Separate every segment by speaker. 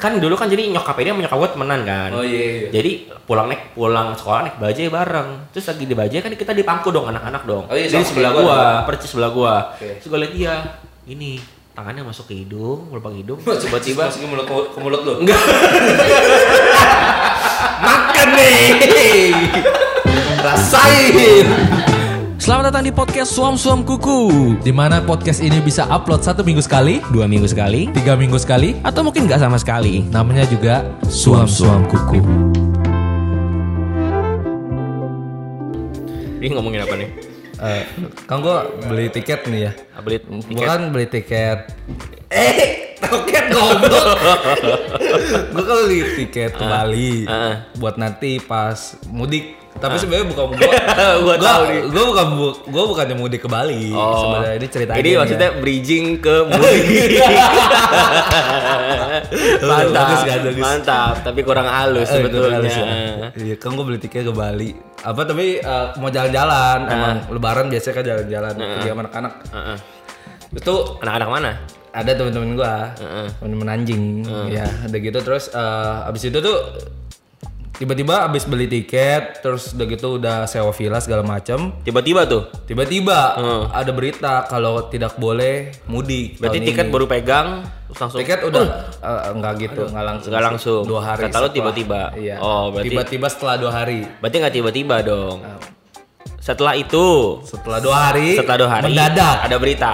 Speaker 1: kan dulu kan jadi nyokapnya dia menyokap gue temenan kan
Speaker 2: Oh iya iya.
Speaker 1: jadi pulang naik pulang sekolah naik bajai bareng terus lagi di bajai kan kita dipangku dong anak-anak dong
Speaker 2: Oh iya,
Speaker 1: jadi
Speaker 2: sama
Speaker 1: sebelah
Speaker 2: kayak gua
Speaker 1: gua percis sebelah gua
Speaker 2: Oke.
Speaker 1: terus gua liat dia ini tangannya masuk ke hidung lubang hidung
Speaker 2: Coba-coba
Speaker 1: tiba-tiba
Speaker 2: masukin mulut ke, ke mulut lu.
Speaker 1: makan nih rasain
Speaker 3: Selamat datang di podcast Suam Suam Kuku. Di mana podcast ini bisa upload satu minggu sekali,
Speaker 1: dua minggu sekali
Speaker 3: tiga minggu sekali,
Speaker 1: atau mungkin nggak sama sekali
Speaker 3: namanya juga Suam Suam Kuku.
Speaker 1: ini ngomongin apa nih
Speaker 4: Eh, kan gue beli tiket nih ya.
Speaker 1: beli
Speaker 4: Gue kan beli tiket.
Speaker 2: Eh, toket goblok.
Speaker 4: Gue kan beli tiket ke Bali
Speaker 1: ah.
Speaker 4: buat nanti pas mudik. Tapi sebenarnya bukan gue.
Speaker 1: Gua tahu nih. Oh.
Speaker 4: Gue bukan gue bukannya mudik ke Bali. Sebenarnya ini ceritanya.
Speaker 1: Ini maksudnya bridging ke mudik. mantap,
Speaker 4: Bagus, Eh, kan, bagus.
Speaker 1: mantap. Tapi Eh, kurang halus ya. sebetulnya.
Speaker 4: Iya, kan gue beli tiket ke Bali. Apa tapi eh, mau jalan-jalan.
Speaker 1: Ah.
Speaker 4: Emang lebaran biasanya kan jalan-jalan. Pergi sama anak-anak.
Speaker 1: Heeh.
Speaker 4: Itu
Speaker 1: Anak-anak mana?
Speaker 4: ada temen-temen gua
Speaker 1: Ah.
Speaker 4: temen-temen anjing
Speaker 1: Hmm.
Speaker 4: ya udah gitu terus eh, abis itu tuh tiba-tiba abis beli tiket terus udah gitu udah sewa villa segala macem
Speaker 1: Tiba-tiba tuh.
Speaker 4: tiba-tiba
Speaker 1: Hmm.
Speaker 4: ada berita kalau tidak boleh mudik
Speaker 1: Berarti
Speaker 4: tahun
Speaker 1: tiket
Speaker 4: ini.
Speaker 1: baru pegang terus langsung
Speaker 4: tiket udah eh, nggak gitu nggak langsung
Speaker 1: nggak langsung.
Speaker 4: dua hari
Speaker 1: Kata lu
Speaker 4: setelah.
Speaker 1: tiba-tiba.
Speaker 4: iya
Speaker 1: Oh, berarti-
Speaker 4: tiba-tiba setelah dua hari
Speaker 1: Berarti nggak tiba-tiba dong.
Speaker 4: Oh.
Speaker 1: Setelah itu,
Speaker 4: setelah dua hari
Speaker 1: setelah dua hari
Speaker 4: mendadak
Speaker 1: ada berita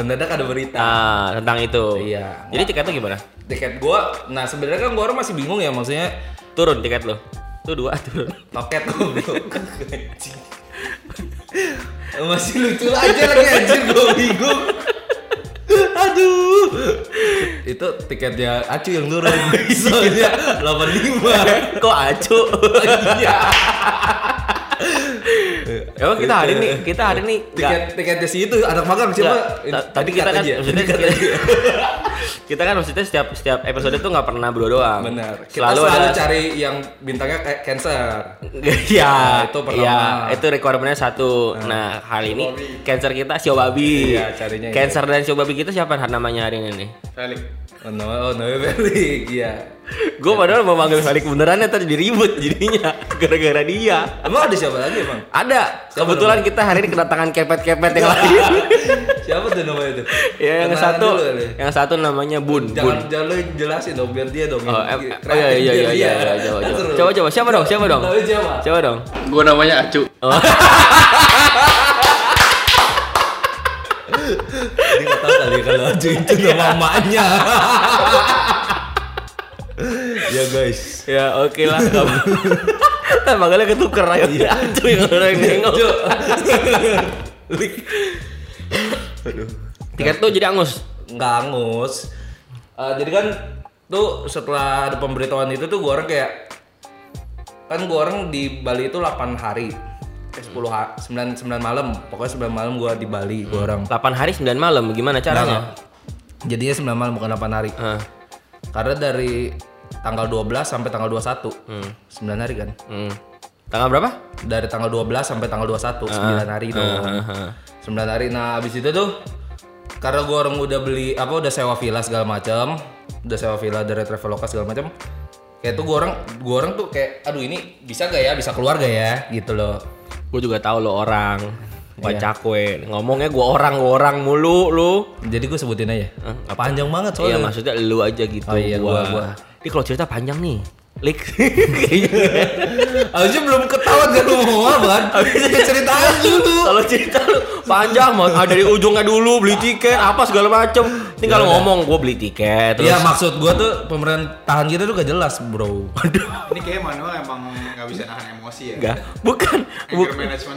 Speaker 4: mendadak ada berita
Speaker 1: ah, tentang itu.
Speaker 4: Iya.
Speaker 1: Jadi tiket lu gimana?
Speaker 4: tiket gua nah sebenarnya kan gua orang masih bingung ya maksudnya
Speaker 1: Turun tiket lu. Tuh dua turun.
Speaker 4: Toket goblok Anjing. Masih lucu aja lagi anjir gue bingung Aduh Itu tiketnya Acu yang turun Soalnya 85
Speaker 1: Kok acu?
Speaker 4: Iya.
Speaker 1: Emang kita hari ini kita hari ini
Speaker 4: Tiket, tiketnya si itu anak magang siapa?
Speaker 1: Nggak, ta- tapi kita kan maksudnya kita, kita kan maksudnya setiap setiap episode tuh nggak pernah berdua doang.
Speaker 4: Benar Kita
Speaker 1: Selalu,
Speaker 4: selalu,
Speaker 1: ada
Speaker 4: cari yang bintangnya kayak cancer
Speaker 1: Iya,
Speaker 4: Nah, itu pertama.
Speaker 1: Iya, itu requirementnya satu. Nah, hari ini cancer kita Sio Babi.
Speaker 4: Iya, carinya itu.
Speaker 1: Cancer dan Sio Babi kita siapa namanya hari ini nih?
Speaker 2: Felix.
Speaker 4: Oh no, oh no, Felix Iya
Speaker 1: Gue padahal mau manggil Felix beneran ya tadi diribut jadinya gara-gara dia.
Speaker 4: Emang ada siapa lagi emang?
Speaker 1: Ada.
Speaker 4: Siapa
Speaker 1: Kebetulan kita hari ini kedatangan kepet-kepet yang lain.
Speaker 4: Siapa tuh namanya tuh?
Speaker 1: ya, yang
Speaker 4: Kenalan
Speaker 1: satu,
Speaker 4: dulu kali.
Speaker 1: yang satu namanya Bun. Bun.
Speaker 4: Jangan jangan lu jelasin dong biar dia dong.
Speaker 1: Oh,
Speaker 4: yang
Speaker 1: em- oh, iya
Speaker 4: kreatif,
Speaker 1: iya iya
Speaker 4: biar
Speaker 1: iya.
Speaker 4: dia.
Speaker 1: iya, Coba
Speaker 4: Kan
Speaker 1: coba.
Speaker 4: seru.
Speaker 1: Coba coba siapa dong? Siapa dong?
Speaker 4: Namanya siapa?
Speaker 1: Coba dong.
Speaker 2: Gua namanya Acu.
Speaker 4: Dia nggak tahu kali kalau Aju itu
Speaker 1: Iya.
Speaker 4: nama mamanya. ya guys.
Speaker 1: Ya oke lah. Nah, makanya ketuker ayo.
Speaker 4: Iya.
Speaker 1: Acu yang orang nengok. Tiket tuh jadi angus.
Speaker 4: Nggak angus. Eh, jadi kan tuh setelah ada pemberitahuan itu tuh gua orang kayak kan gua orang di Bali itu 8 hari. Eh, 10 hari, 9 9 malam. Pokoknya 9 malam gua di Bali gua orang.
Speaker 1: 8 hari 9 malam gimana caranya? Eh,
Speaker 4: Jadinya 9 malam bukan 8 hari.
Speaker 1: Heeh.
Speaker 4: Karena dari tanggal 12 sampai tanggal 21 9 hari kan
Speaker 1: Hmm. Tanggal berapa?
Speaker 4: Dari tanggal 12 sampai tanggal 21 9 hari itu
Speaker 1: ah, heeh.
Speaker 4: 9 hari Nah abis itu tuh Karena gue orang udah beli Apa udah sewa villa segala macam Udah sewa villa dari Traveloka segala macam Kayak tuh gue orang Gue orang tuh kayak Aduh ini bisa gak ya Bisa keluar gak ya Gitu loh
Speaker 1: Gue juga tahu lo orang. Kocak kue. Ngomongnya gua orang, gua orang mulu lu.
Speaker 4: Jadi gue sebutin aja Panjang banget
Speaker 1: Iya
Speaker 4: soalnya
Speaker 1: maksudnya lu aja gitu.
Speaker 4: Oh, iya, gua- gua.
Speaker 1: Ini kalau cerita panjang nih. Lik.
Speaker 4: Aja belum ketahuan kan lu mau apa kan Cerita aja dulu
Speaker 1: Kalau cerita lu panjang mau ah, dari ujungnya dulu beli tiket apa segala macem. Tinggal ngomong gue beli tiket terus.
Speaker 4: Iya maksud gua tuh pemerintahan kita tuh gak jelas bro. Aduh.
Speaker 2: Ini kayak Manuel emang nggak bisa nahan emosi ya.
Speaker 1: Enggak. Bukan.
Speaker 2: Anger
Speaker 1: Bu-
Speaker 2: management.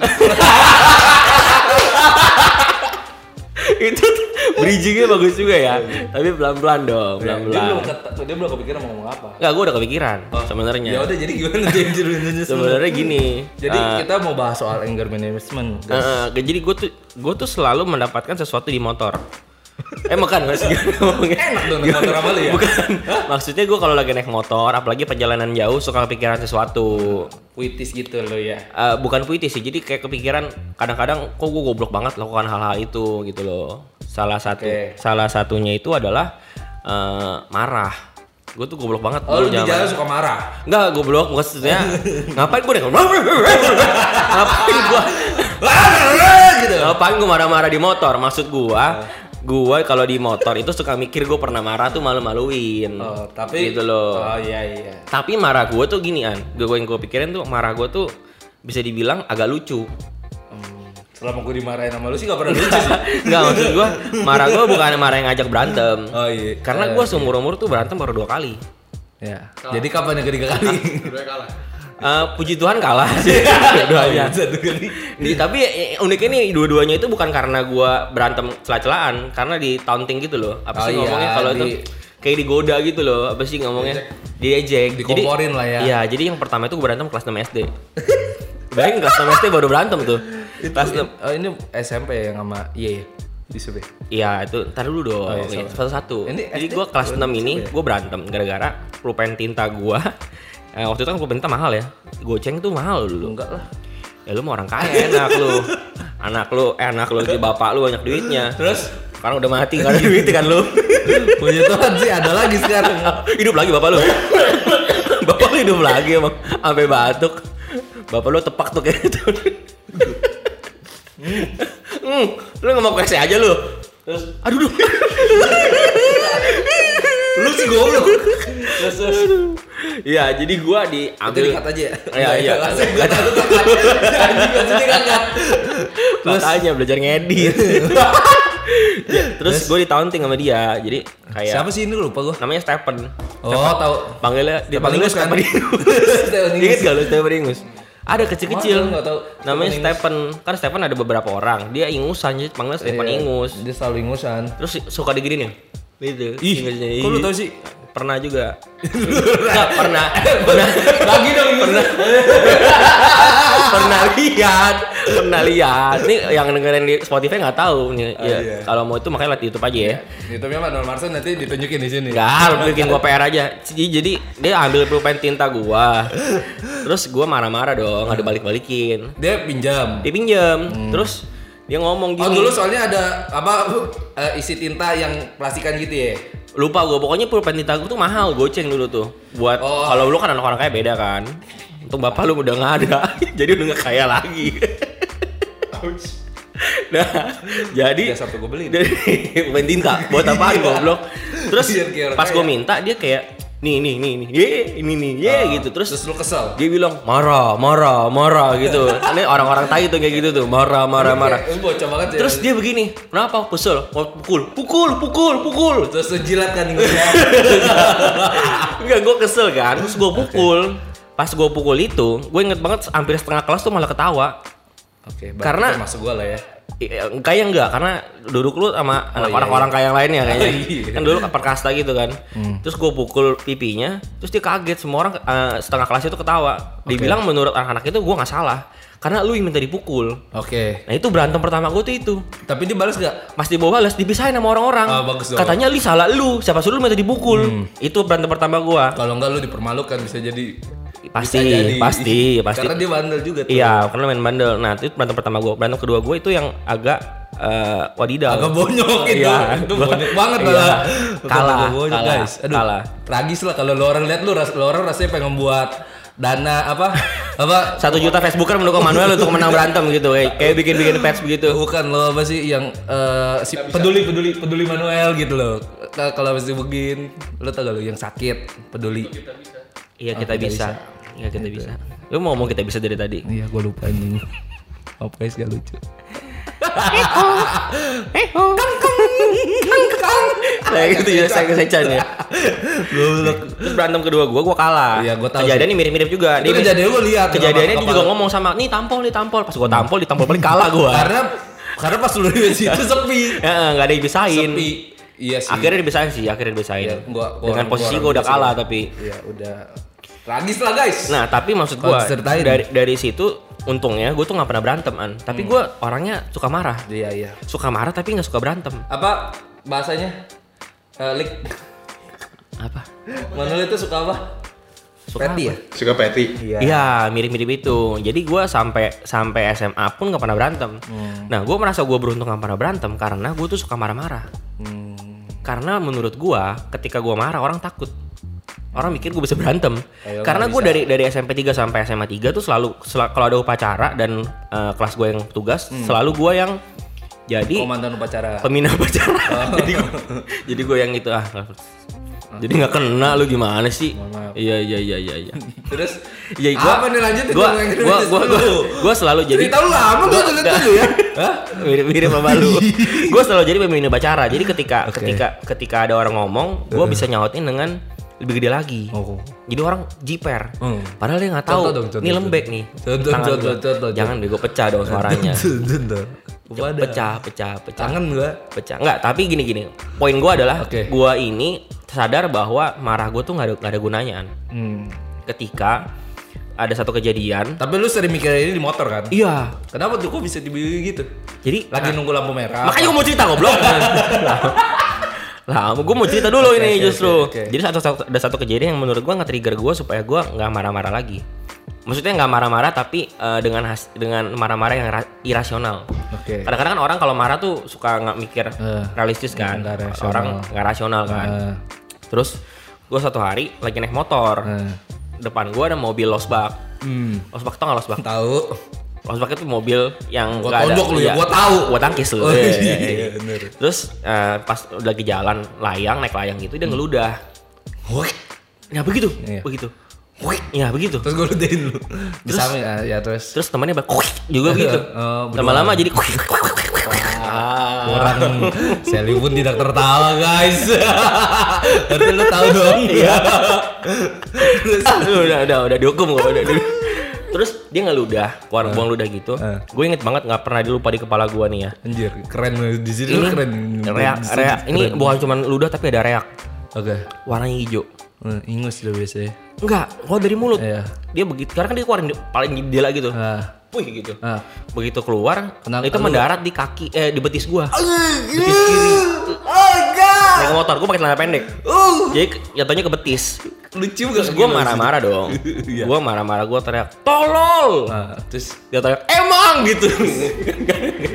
Speaker 1: itu tuh bridgingnya bagus juga ya. Iya. Tapi pelan-pelan dong,
Speaker 4: Dia belum
Speaker 1: pelan-pelan.
Speaker 4: kata, dia belum kepikiran mau ngomong apa.
Speaker 1: Enggak, gue udah kepikiran
Speaker 4: Ya
Speaker 1: sebenarnya.
Speaker 4: udah jadi gimana jadi judulnya sebenarnya.
Speaker 1: Sebenarnya gini.
Speaker 4: Jadi
Speaker 1: eh,
Speaker 4: kita mau bahas soal anger management.
Speaker 1: Eh, eh, jadi gue tuh gue tuh selalu mendapatkan sesuatu di motor. Emang kan harus ngomongnya.
Speaker 4: Enak dong naik motor sama lu ya.
Speaker 1: Bukan. Maksudnya gue kalau lagi naik motor, apalagi perjalanan jauh suka kepikiran sesuatu.
Speaker 4: Puitis gitu lo ya.
Speaker 1: Eh, bukan puitis sih, jadi kayak kepikiran kadang-kadang kok gue goblok banget lakukan hal-hal itu gitu loh. Salah satu
Speaker 4: Oke.
Speaker 1: salah satunya itu adalah eh, marah. Gue tuh goblok banget.
Speaker 4: Oh, lu di
Speaker 1: Zaman-
Speaker 4: jalan suka marah.
Speaker 1: Enggak, gue blok, maksudnya ngapain gue deh Ngapain gue
Speaker 4: Ah,
Speaker 1: gitu. Ngapain gue marah-marah di motor? Maksud gue, gue kalau di motor itu suka mikir gue pernah marah tuh malu-maluin.
Speaker 4: Oh, tapi
Speaker 1: gitu loh.
Speaker 4: Oh iya iya.
Speaker 1: Tapi marah gue tuh gini an, gue yang gue pikirin tuh marah gue tuh bisa dibilang agak lucu.
Speaker 4: Hmm, selama gue dimarahin sama lu sih gak pernah lucu sih.
Speaker 1: Enggak maksud gue, marah gue bukan marah yang ngajak berantem.
Speaker 4: Oh iya.
Speaker 1: Karena gue seumur umur tuh berantem baru dua kali.
Speaker 4: Ya. Jadi kapan yang ketiga kali?
Speaker 2: Dua kalah.
Speaker 1: Eh, puji Tuhan kalah sih dua-duanya.
Speaker 4: Oh, iya, Satu kali.
Speaker 1: Di- tapi eh, uniknya nih dua-duanya itu bukan karena gua berantem celah-celahan, karena di taunting gitu loh. Apa
Speaker 4: Oh
Speaker 1: sih
Speaker 4: iya,
Speaker 1: ngomongnya kalau itu
Speaker 4: di-
Speaker 1: kayak digoda gitu loh. Apa sih ngomongnya? Diejek. Jadi-
Speaker 4: Dikomporin lah ya.
Speaker 1: Iya, jadi yang pertama itu gua berantem kelas 6 SD. Bayangin kelas 6 SD baru berantem tuh. Kelas enam.
Speaker 4: Oh, ini SMP yang sama iya ya. Di sebe.
Speaker 1: Iya, itu ntar dulu dong.
Speaker 4: Oh iya,
Speaker 1: Oke,
Speaker 4: salah.
Speaker 1: Satu-satu.
Speaker 4: Ini
Speaker 1: Jadi
Speaker 4: SD
Speaker 1: gua kelas 6
Speaker 4: ya?
Speaker 1: ini gua berantem gara-gara pulpen tinta gua. Eh, waktu itu kan pulpen tinta mahal ya. Goceng tuh mahal dulu.
Speaker 4: Enggak lah.
Speaker 1: Ya lu mau orang kaya enak lu. Anak lu, eh, anak lu si bapak lu banyak duitnya. Terus sekarang udah mati karena duit kan lu.
Speaker 4: Puji Tuhan sih ada lagi sekarang.
Speaker 1: hidup lagi bapak lu. bapak lu hidup lagi emang sampai batuk. Bapak lu tepak tuh kayak gitu. hmm, lu nggak mau kese aja lu. Terus aduh duh.
Speaker 4: lu sih goblok.
Speaker 1: Terus, terus. Iya, jadi gua
Speaker 4: Itu
Speaker 1: diambil
Speaker 4: dikat aja ya.
Speaker 1: Iya, iya. kan
Speaker 4: Langsung gua tahu tuh kakak. Anjing maksudnya kakak.
Speaker 1: Makanya belajar ngedit. Ya, terus gue ditaunting sama dia. Jadi kayak
Speaker 4: Siapa sih ini lupa gua?
Speaker 1: namanya Stephen.
Speaker 4: Oh, tahu.
Speaker 1: Panggilnya dipanggilnya
Speaker 4: Stephen
Speaker 1: Stephen Ingus.
Speaker 4: Ingus kan? Stephen Ingus.
Speaker 1: Ingat gak lu Stephen Ingus? Ada kecil-kecil.
Speaker 4: Mana? Nggak tahu.
Speaker 1: Namanya
Speaker 4: Stephen Ingus.
Speaker 1: Stephen. Kan Stephen ada beberapa orang. Dia ingusan jadi panggilnya Stephen
Speaker 4: Iya,
Speaker 1: Ingus.
Speaker 4: Dia selalu ingusan.
Speaker 1: Terus suka diginiin. Gitu.
Speaker 4: Ih,
Speaker 1: Ingusnya.
Speaker 4: kok lu
Speaker 1: Ih.
Speaker 4: tahu sih?
Speaker 1: Pernah juga. Enggak, pernah. Pernah.
Speaker 4: Lagi dong pernah.
Speaker 1: pernah lihat, pernah lihat. Ini yang dengerin di Spotify nggak tahu nih. Ya,
Speaker 4: iya.
Speaker 1: Kalau mau itu makanya lihat di YouTube aja ya.
Speaker 4: YouTube-nya Pak Donald Marsden nanti ditunjukin di sini.
Speaker 1: Enggak, lu bikin gua PR aja. Jadi, jadi dia ambil pulpen tinta gua. Terus gua marah-marah dong, ada balik-balikin.
Speaker 4: Dia pinjam.
Speaker 1: Dipinjam. Terus dia ngomong gini.
Speaker 4: Hmm. Oh dulu soalnya ada apa eh, isi tinta yang plastikan gitu ya.
Speaker 1: Lupa gua, pokoknya pulpen tinta gua tuh mahal, goceng dulu tuh. Buat
Speaker 4: Oh.
Speaker 1: kalau lu kan anak orang kaya beda kan. Untung bapak lu udah nggak ada. jadi udah nggak kaya lagi. Nah, jadi
Speaker 4: Udah Sabtu gua beli.
Speaker 1: dari pulpen tinta buat apaan goblok. Terus
Speaker 4: Biar kayak orang
Speaker 1: pas gua
Speaker 4: kaya. Ah.
Speaker 1: minta dia kayak nih nih nih nih ye, ini nih ye gitu terus
Speaker 4: Iya, Terus lu kesel.
Speaker 1: dia bilang marah marah marah gitu ini orang-orang tai tuh kayak gitu tuh marah marah marah
Speaker 4: Lu bocah banget ya.
Speaker 1: terus dia begini kenapa kesel Oh, pukul pukul pukul pukul
Speaker 4: terus lu jilat kan ingusannya.
Speaker 1: enggak gue kesel kan terus gue pukul pas gue pukul itu gue inget banget hampir setengah kelas tuh malah ketawa
Speaker 4: Oke, berarti
Speaker 1: Karena-
Speaker 4: itu masuk gua lah ya.
Speaker 1: Iya, Kayaknya enggak karena duduk lu sama anak
Speaker 4: iya,
Speaker 1: orang-orang kaya yang lainnya kayaknya.
Speaker 4: Oh, iya. Hmm.
Speaker 1: Kan dulu perkasta gitu kan. Terus gue pukul pipinya, terus dia kaget semua orang eh, setengah kelas itu ketawa. Dibilang menurut anak-anak itu gua nggak salah karena lu yang minta dipukul.
Speaker 4: Oke.
Speaker 1: Nah itu berantem pertama gue tuh itu
Speaker 4: Tapi dia balas gak?
Speaker 1: Mas dibawa balas dipisahin sama orang-orang
Speaker 4: Ah, bagus dong. Hmm.
Speaker 1: Katanya li salah lu Siapa suruh lu minta dipukul Itu berantem pertama gue
Speaker 4: Kalau enggak lu dipermalukan bisa jadi
Speaker 1: Pasti,
Speaker 4: bisa jadi.
Speaker 1: Iya, pasti, pasti.
Speaker 4: Karena dia bandel juga tuh.
Speaker 1: Iya karena main bandel Nah itu berantem pertama gue Berantem kedua gue itu yang agak eh, wadidaw
Speaker 4: Agak bonyok itu.
Speaker 1: Iya.
Speaker 4: gitu. Itu bonyok banget
Speaker 1: Iya.
Speaker 4: lah.
Speaker 1: Kalah,
Speaker 4: Agak bonyok,
Speaker 1: kalah,
Speaker 4: guys. Aduh,
Speaker 1: kalah.
Speaker 4: Tragis lah kalau lu orang lihat lu, ras, lu orang rasanya pengen buat dana apa? apa?
Speaker 1: Satu juta Facebooker mendukung Manuel untuk menang berantem gitu Kayak kayak bikin-bikin pets begitu
Speaker 4: Bukan lo apa sih yang eh, si peduli peduli peduli Manuel gitu loh. Nah, Kalau mesti begin, lo tau gak lo yang sakit peduli.
Speaker 1: Iya kita bisa Iya kita bisa Lu mau ngomong kita bisa dari tadi
Speaker 4: Iya, gue lupa ini. Apa guys gak lucu.
Speaker 1: Saya gitu ya saya kesecan ya Terus berantem kedua gue gue kalah
Speaker 4: Iya, gua tahu
Speaker 1: Kejadiannya mirip-mirip juga
Speaker 4: Itu kejadiannya gue lihat.
Speaker 1: kejadiannya dia
Speaker 4: Kepala-
Speaker 1: juga ngomong sama nih tampol nih tampol pas gua tampol ditampol balik kalah gua
Speaker 4: Karena karena pas lu di situ sepi.
Speaker 1: Heeh, nggak ada yang dibisain
Speaker 4: Sepi. Iya sih.
Speaker 1: akhirnya dibisain sih akhirnya dibisain
Speaker 4: Iya, gua- gua
Speaker 1: dengan
Speaker 4: orang-
Speaker 1: posisi gua
Speaker 4: gua orang
Speaker 1: udah kalah tapi
Speaker 4: Iya, udah. Tragis lah guys.
Speaker 1: nah tapi maksud
Speaker 4: Kalau
Speaker 1: gua
Speaker 4: diceritain.
Speaker 1: dari dari situ untungnya gua tuh nggak pernah berantem an
Speaker 4: Hmm.
Speaker 1: tapi gua orangnya suka marah
Speaker 4: Iya, iya.
Speaker 1: suka marah tapi nggak suka berantem
Speaker 4: Apa bahasanya? Eh, lik.
Speaker 1: apa
Speaker 4: Manuel itu suka apa?
Speaker 1: Suka
Speaker 4: Patty ya?
Speaker 2: Suka Patty.
Speaker 4: Iya.
Speaker 1: Iya, mirip-mirip itu. Jadi gua sampai sampai SMA pun nggak pernah berantem.
Speaker 4: Hmm.
Speaker 1: Nah, gua merasa gua beruntung nggak pernah berantem karena
Speaker 4: Hmm.
Speaker 1: gua tuh suka marah-marah. Karena menurut gua, ketika gua marah orang takut. Orang mikir gue bisa berantem.
Speaker 4: Eh, lo
Speaker 1: Karena
Speaker 4: nggak
Speaker 1: gue
Speaker 4: bisa.
Speaker 1: dari dari SMP 3 sampai SMA 3 tuh selalu sel- kalau ada upacara dan eh, kelas gue yang tugas,
Speaker 4: Hmm.
Speaker 1: selalu gue yang jadi
Speaker 4: Komandan upacara.
Speaker 1: pembina upacara.
Speaker 4: Oh.
Speaker 1: jadi gua- jadi gue yang itu ah. Jadi nggak kena lu gimana sih?
Speaker 4: Mohon maaf.
Speaker 1: Iya iya iya iya iya.
Speaker 4: Terus
Speaker 1: Ya gua
Speaker 4: apa nih lanjutin
Speaker 1: gua
Speaker 4: dong, yang
Speaker 1: gua
Speaker 4: Indonesia
Speaker 1: gua gua,
Speaker 4: dulu.
Speaker 1: gua selalu jadi
Speaker 4: Cerita lu lama tuh cerita lu ya.
Speaker 1: Hah? Mirip mirip sama lu. gue selalu jadi pemimpin upacara. Jadi ketika ketika ketika ada orang ngomong, gue bisa nyautin dengan lebih gede lagi.
Speaker 4: Oh.
Speaker 1: Jadi orang jiper.
Speaker 4: Hmm.
Speaker 1: Padahal dia nggak tahu.
Speaker 4: Contoh dong, contoh,
Speaker 1: Ini lembek nih.
Speaker 4: Contoh,
Speaker 1: tangan
Speaker 4: contoh,
Speaker 1: gua.
Speaker 4: contoh, contoh.
Speaker 1: Jangan bego pecah dong suaranya.
Speaker 4: Bentar.
Speaker 1: pecah, pecah, pecah
Speaker 4: Tangan gua.
Speaker 1: pecah nggak tapi gini gini poin gua adalah
Speaker 4: Oke.
Speaker 1: gua ini sadar bahwa marah gua tuh nggak ada nggak ada gunanya An.
Speaker 4: Hmm.
Speaker 1: ketika ada satu kejadian
Speaker 4: Tapi lu sering mikir ini di motor kan?
Speaker 1: iya Nah.
Speaker 4: Kenapa tuh kok bisa dibeli gitu?
Speaker 1: jadi
Speaker 4: Lagi nunggu lampu merah.
Speaker 1: makanya gua mau cerita goblok lah gua mau cerita dulu ini
Speaker 4: oke,
Speaker 1: justru
Speaker 4: oke, oke.
Speaker 1: jadi satu, satu- ada satu kejadian yang menurut gua nggak trigger gua supaya gua nggak marah-marah lagi maksudnya nggak marah-marah tapi eh, dengan has- dengan marah-marah yang ra- irasional
Speaker 4: Oke.
Speaker 1: kadang-kadang kan orang kalau marah tuh suka nggak mikir
Speaker 4: Eh,
Speaker 1: realistis kan
Speaker 4: nggak rasional.
Speaker 1: orang nggak rasional kan
Speaker 4: Eh.
Speaker 1: Terus gue satu hari lagi naik motor,
Speaker 4: Nah.
Speaker 1: depan gue ada mobil losbak.
Speaker 4: Hmm.
Speaker 1: Losbak tau gak losbak?
Speaker 4: Tahu.
Speaker 1: Losbak itu mobil yang
Speaker 4: Gua
Speaker 1: nggak ada.
Speaker 4: tonjok lu ya, gua tahu.
Speaker 1: Gue tangkis lu.
Speaker 4: Oh,
Speaker 1: Iya,
Speaker 4: iya,
Speaker 1: iya, iya.
Speaker 4: bener.
Speaker 1: Terus eh, pas lagi jalan layang naik layang gitu dia ngeludah.
Speaker 4: Woi.
Speaker 1: Ya begitu,
Speaker 4: Hmm. Iya.
Speaker 1: begitu. Wih, ya begitu.
Speaker 4: Terus gua ludahin lu. Bisa ya, ya terus.
Speaker 1: Terus temannya bak "Kuik," juga begitu.
Speaker 4: Oh, berdua.
Speaker 1: Lama-lama jadi "Kuik, kuik, kuik, kuik, kuik." Ah.
Speaker 4: Orang Sally pun tidak tertawa guys. Tapi lu tahu dong. Iya. terus
Speaker 1: Aduh, udah udah udah dihukum gua, udah, udah. Terus dia ngeludah, keluar buang ludah gitu.
Speaker 4: Eh.
Speaker 1: Gue inget banget nggak pernah dilupa di kepala gua nih ya.
Speaker 4: anjir keren lu. di sini lu
Speaker 1: ini
Speaker 4: keren.
Speaker 1: reak
Speaker 4: Di sini
Speaker 1: reak ini
Speaker 4: Hmm, keren.
Speaker 1: bukan cuman ludah tapi ada reak
Speaker 4: Oke.
Speaker 1: warnanya hijau
Speaker 4: Hmm, Ingus lu biasanya.
Speaker 1: enggak keluar dari mulut
Speaker 4: Iya.
Speaker 1: dia begitu karena kan dia keluarin di- paling gede gitu
Speaker 4: Ah.
Speaker 1: Wih gitu
Speaker 4: Ah.
Speaker 1: begitu keluar
Speaker 4: Kenal-
Speaker 1: itu
Speaker 4: lu-
Speaker 1: mendarat di kaki eh di betis gua betis kiri Oh, naik motor gua pakai celana pendek jadi ke- jatuhnya ke betis
Speaker 4: Lucu gitu?
Speaker 1: terus gua marah-marah dong
Speaker 4: Iya.
Speaker 1: gua marah-marah gua teriak tolol
Speaker 4: Nah, terus
Speaker 1: dia teriak emang gitu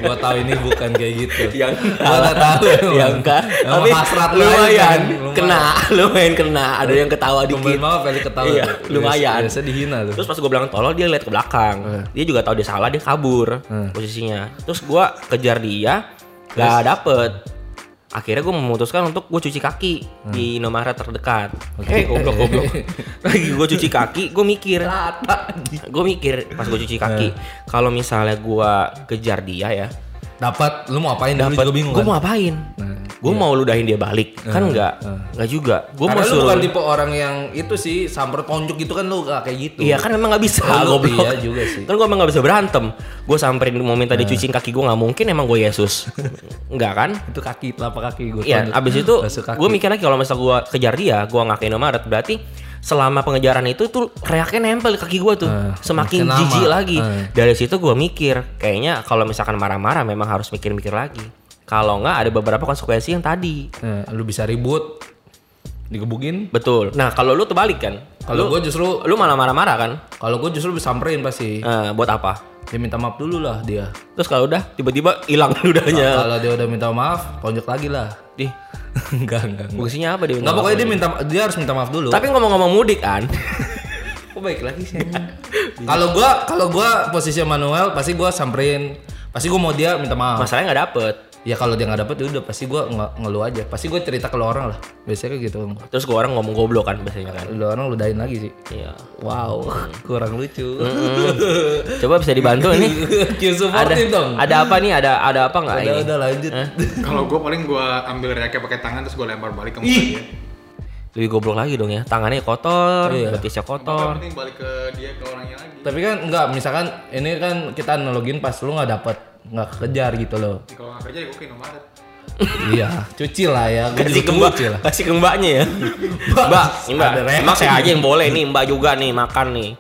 Speaker 4: gua tahu ini bukan kayak gitu.
Speaker 1: yang
Speaker 4: Gua tahu.
Speaker 1: ya enggak tapi
Speaker 4: hasrat lu aja
Speaker 1: lumayan
Speaker 4: kan. Lumayan.
Speaker 1: kena lumayan kena ada yang ketawa
Speaker 4: Kembali
Speaker 1: dikit
Speaker 4: mau kali ketawa.
Speaker 1: Iya,
Speaker 4: tuh.
Speaker 1: lumayan.
Speaker 4: Biasa dihina tuh.
Speaker 1: terus pas gue bilang tolol dia lihat ke belakang dia juga tahu dia salah dia kabur
Speaker 4: Hmm.
Speaker 1: posisinya terus gue kejar dia gak dapet akhirnya gue memutuskan untuk gue cuci kaki di Indomaret terdekat eh goblok goblok lagi gue cuci kaki gue mikir gue mikir pas gue cuci kaki kalau misalnya gue kejar dia ya
Speaker 4: Dapat lu mau apain dulu
Speaker 1: dapet
Speaker 4: juga bingung
Speaker 1: gue
Speaker 4: kan?
Speaker 1: mau apain
Speaker 4: Nah,
Speaker 1: gue mau ludahin dia balik kan enggak enggak juga gue mau
Speaker 4: Karena lu
Speaker 1: suruh
Speaker 4: bukan tipe orang yang itu sih samper tonjok gitu kan lu gak kayak gitu.
Speaker 1: Iya kan emang nggak bisa
Speaker 4: Oh, lu
Speaker 1: goblok.
Speaker 4: iya juga sih. Nah.
Speaker 1: Kan gue emang nggak bisa berantem. Gue samperin mau minta dicuciin kaki gue nggak mungkin emang gue Yesus. Enggak kan?
Speaker 4: Itu kaki telapak kaki gue.
Speaker 1: Iya. Abis itu
Speaker 4: Masuk kaki.
Speaker 1: gue mikir lagi kalau misal gue kejar dia, gue nggak ke Indomaret berarti selama pengejaran itu tuh reaknya nempel di kaki gue tuh
Speaker 4: Eh,
Speaker 1: semakin
Speaker 4: makin lama.
Speaker 1: jijik lagi
Speaker 4: Eh.
Speaker 1: dari situ gue mikir kayaknya kalau misalkan marah-marah memang harus mikir-mikir lagi kalau nggak ada beberapa konsekuensi yang tadi
Speaker 4: Nah, lu bisa ribut, digebukin.
Speaker 1: betul nah kalau lu terbalik kan lu,
Speaker 4: Kalau gue justru,
Speaker 1: lu malah marah-marah kan
Speaker 4: kalau gue justru samperin pasti.
Speaker 1: Eh, buat apa
Speaker 4: Ya minta maaf dulu lah dia.
Speaker 1: terus kalau udah tiba-tiba hilang ludahnya
Speaker 4: Kalau dia udah minta maaf, tonjok lagi lah.
Speaker 1: Dih,
Speaker 4: enggak, enggak. enggak.
Speaker 1: fungsinya apa dia?
Speaker 4: Enggak pokoknya dia minta dia harus minta maaf dulu.
Speaker 1: Tapi ngomong-ngomong mudik kan.
Speaker 4: Kok baik lagi sih
Speaker 1: Iya.
Speaker 4: anjing? Kalau gua kalau gua posisi Manuel pasti gua samperin. Pasti gua mau dia minta maaf.
Speaker 1: Masalahnya nggak dapet.
Speaker 4: Ya kalau dia nggak dapet ya udah pasti gua nge- ngeluh aja. Pasti gua cerita ke lu orang lah. Biasanya kayak gitu.
Speaker 1: Terus gua orang ngomong goblok kan biasanya kan.
Speaker 4: Lu orang ludahin lagi sih.
Speaker 1: Iya.
Speaker 4: Wow, kurang lucu.
Speaker 1: Hmm. Coba bisa dibantu ini. ada
Speaker 4: Cue supportive dong.
Speaker 1: ada apa nih? Ada ada apa nggak
Speaker 4: Udah,
Speaker 1: ini?
Speaker 4: udah lanjut.
Speaker 2: Kalau gue paling gue ambil reaknya pakai tangan terus gue lempar balik ke muka dia.
Speaker 1: Lebih goblok lagi dong ya. Tangannya kotor,
Speaker 4: Iya.
Speaker 1: betisnya
Speaker 2: Yang
Speaker 1: kotor.
Speaker 2: penting balik ke dia ke orangnya lagi.
Speaker 4: Tapi kan enggak, misalkan ini kan kita analogin pas lu nggak dapet nggak kejar gitu loh.
Speaker 2: Jadi Kalau nggak kerja ya gue ke Indomaret.
Speaker 4: iya, cuci lah ya. Gua
Speaker 1: Kasih
Speaker 4: juga
Speaker 1: ke mbak,
Speaker 4: cuci lah.
Speaker 1: kasih ke mbaknya ya. mbak, ini mbak,
Speaker 4: Ada reaksi.
Speaker 1: emang saya aja yang boleh nih, mbak juga nih makan nih.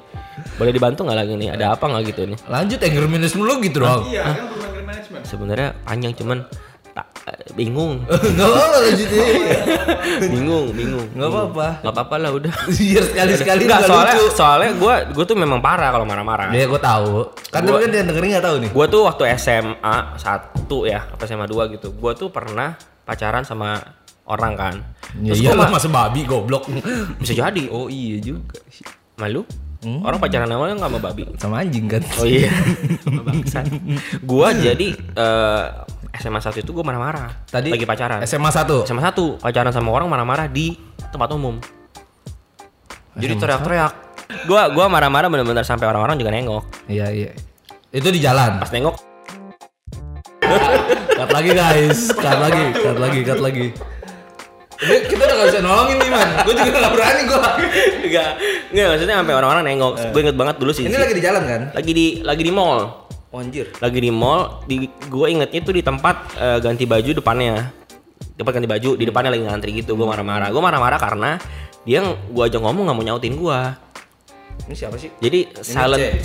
Speaker 1: Boleh dibantu nggak lagi nih? Ada apa nggak gitu nih?
Speaker 4: Lanjut anger management lu gitu doang.
Speaker 2: Iya, kan bukan green management.
Speaker 1: Sebenarnya panjang cuman tak eh, bingung,
Speaker 4: Enggak apa-apa lanjut aja.
Speaker 1: Iya. bingung, bingung.
Speaker 4: Nggak apa-apa.
Speaker 1: Nggak apa-apa lah udah.
Speaker 4: Iya sekali-sekali
Speaker 1: Enggak,
Speaker 4: juga
Speaker 1: soalnya
Speaker 4: lucu.
Speaker 1: soalnya gue gue tuh memang parah kalau marah-marah.
Speaker 4: Ya gue tahu. Kan tapi
Speaker 1: Gua-
Speaker 4: kan dia dengerin nggak tahu nih.
Speaker 1: Gue tuh waktu SMA 1 ya, apa SMA 2 gitu. Gue tuh pernah pacaran sama orang kan.
Speaker 4: Ya
Speaker 1: Terus
Speaker 4: iya
Speaker 1: gua
Speaker 4: lah
Speaker 1: ma-
Speaker 4: masa babi goblok.
Speaker 1: bisa jadi.
Speaker 5: Oh iya juga. sih.
Speaker 1: Malu? Orang pacaran awalnya nggak sama babi.
Speaker 4: Sama anjing kan.
Speaker 1: Oh iya. Bangsat. gua jadi eh, SMA 1 itu gua marah-marah.
Speaker 4: Tadi
Speaker 1: lagi pacaran.
Speaker 4: SMA 1.
Speaker 1: SMA 1 pacaran sama orang marah-marah di tempat umum. Jadi teriak-teriak. Gua gua marah-marah bener-bener sampai orang-orang juga nengok.
Speaker 4: Iya iya. Itu di jalan.
Speaker 1: Pas nengok
Speaker 4: Cut lagi guys. Cut lagi, cut lagi, cut lagi.
Speaker 5: Ini kita udah gak bisa nolongin nih man. Gue juga gak berani gue.
Speaker 1: enggak enggak maksudnya sampai orang-orang nengok. Gue inget banget dulu sih.
Speaker 5: Eh. Ini lagi di jalan kan?
Speaker 1: lagi di lagi di mall.
Speaker 5: Oh, anjir.
Speaker 1: lagi di mall di gue ingetnya tuh di tempat eh, ganti baju depannya tempat ganti baju di depannya lagi ngantri gitu gue marah-marah gue marah-marah karena dia gue aja ngomong nggak mau nyautin gue
Speaker 5: Ini siapa sih?
Speaker 1: jadi silent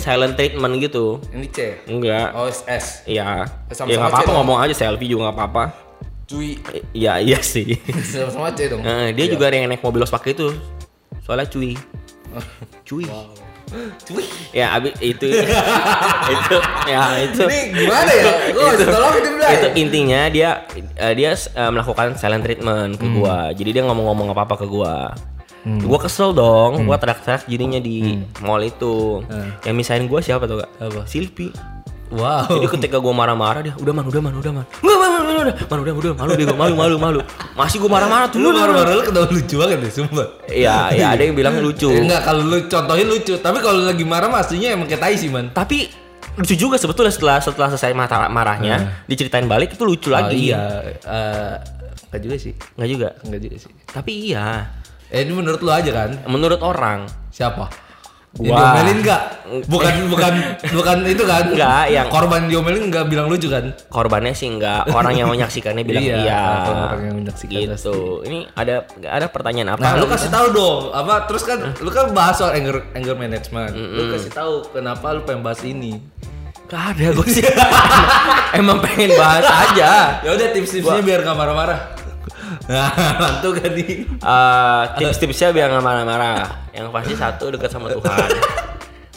Speaker 5: C.
Speaker 1: silent treatment gitu
Speaker 5: Ini C. ya?
Speaker 1: enggak
Speaker 5: Oh S.
Speaker 1: Iya,
Speaker 5: Sama-sama
Speaker 1: ya nggak
Speaker 5: C
Speaker 1: apa-apa
Speaker 5: dong.
Speaker 1: ngomong aja selfie juga nggak apa-apa.
Speaker 5: Cuy.
Speaker 1: Iya iya sih.
Speaker 5: Sama-sama C dong.
Speaker 1: Nah, dia juga ada yang naik mobil los pakai itu. Soalnya cuy.
Speaker 5: Oh.
Speaker 1: Cuy.
Speaker 5: Cuy.
Speaker 1: Ya abis itu itu ya itu.
Speaker 5: Ini gimana ya? Gue harus tolongin dia bilang.
Speaker 1: itu intinya dia eh, dia eh, melakukan silent treatment
Speaker 4: Hmm.
Speaker 1: ke gua jadi dia ngomong-ngomong apa apa ke gua gua kesel dong
Speaker 4: Hmm.
Speaker 1: gua teriak-teriak jadinya di mall itu yang misahin gua siapa tuh kak
Speaker 4: Eh. Apa? Oh.
Speaker 1: Silpi
Speaker 4: Wow.
Speaker 1: jadi ketika gua marah-marah dia udah man udah man udah man nggak man man man udah man udah udah malu dia gua malu malu malu masih gua marah-marah tuh udah,
Speaker 4: Lu
Speaker 1: udah.
Speaker 4: baru-baru lu ketawa lucu banget deh, sumpah.
Speaker 1: ya ya ada yang bilang lucu
Speaker 4: Eh, Enggak, kalau lu contohin lucu, tapi kalau lu lagi marah maksudnya emang kayak tai sih, man.
Speaker 1: tapi lucu juga sebetulnya setelah setelah selesai marah marahnya diceritain balik itu lucu
Speaker 4: Eh. Oh,
Speaker 1: lagi
Speaker 4: iya, eh, enggak juga sih.
Speaker 1: nggak juga
Speaker 4: Enggak juga sih.
Speaker 1: tapi iya
Speaker 4: Eh, ini menurut lu aja kan?
Speaker 1: menurut orang
Speaker 4: Siapa? Yang
Speaker 1: Wah.
Speaker 4: diomelin enggak? Bukan bukan bukan itu kan?
Speaker 1: Enggak, yang-
Speaker 4: korban diomelin enggak bilang lucu kan?
Speaker 1: korbannya sih enggak orang yang menyaksikannya bilang
Speaker 4: Iya,
Speaker 1: iya,
Speaker 4: orang yang menyaksikan
Speaker 1: gitu ini ada ada pertanyaan apa
Speaker 4: Nah, lu kasih tahu dong apa terus kan lu kan bahas soal anger anger management. Lu kasih tahu kenapa lu pengen bahas ini.
Speaker 1: gak ada gue sih emang pengen bahas aja
Speaker 4: Ya udah tips-tipsnya biar nggak marah-marah. Nah, mantu kan nih.
Speaker 1: Eh, tips-tipsnya biar nggak marah-marah yang pasti satu dekat sama Tuhan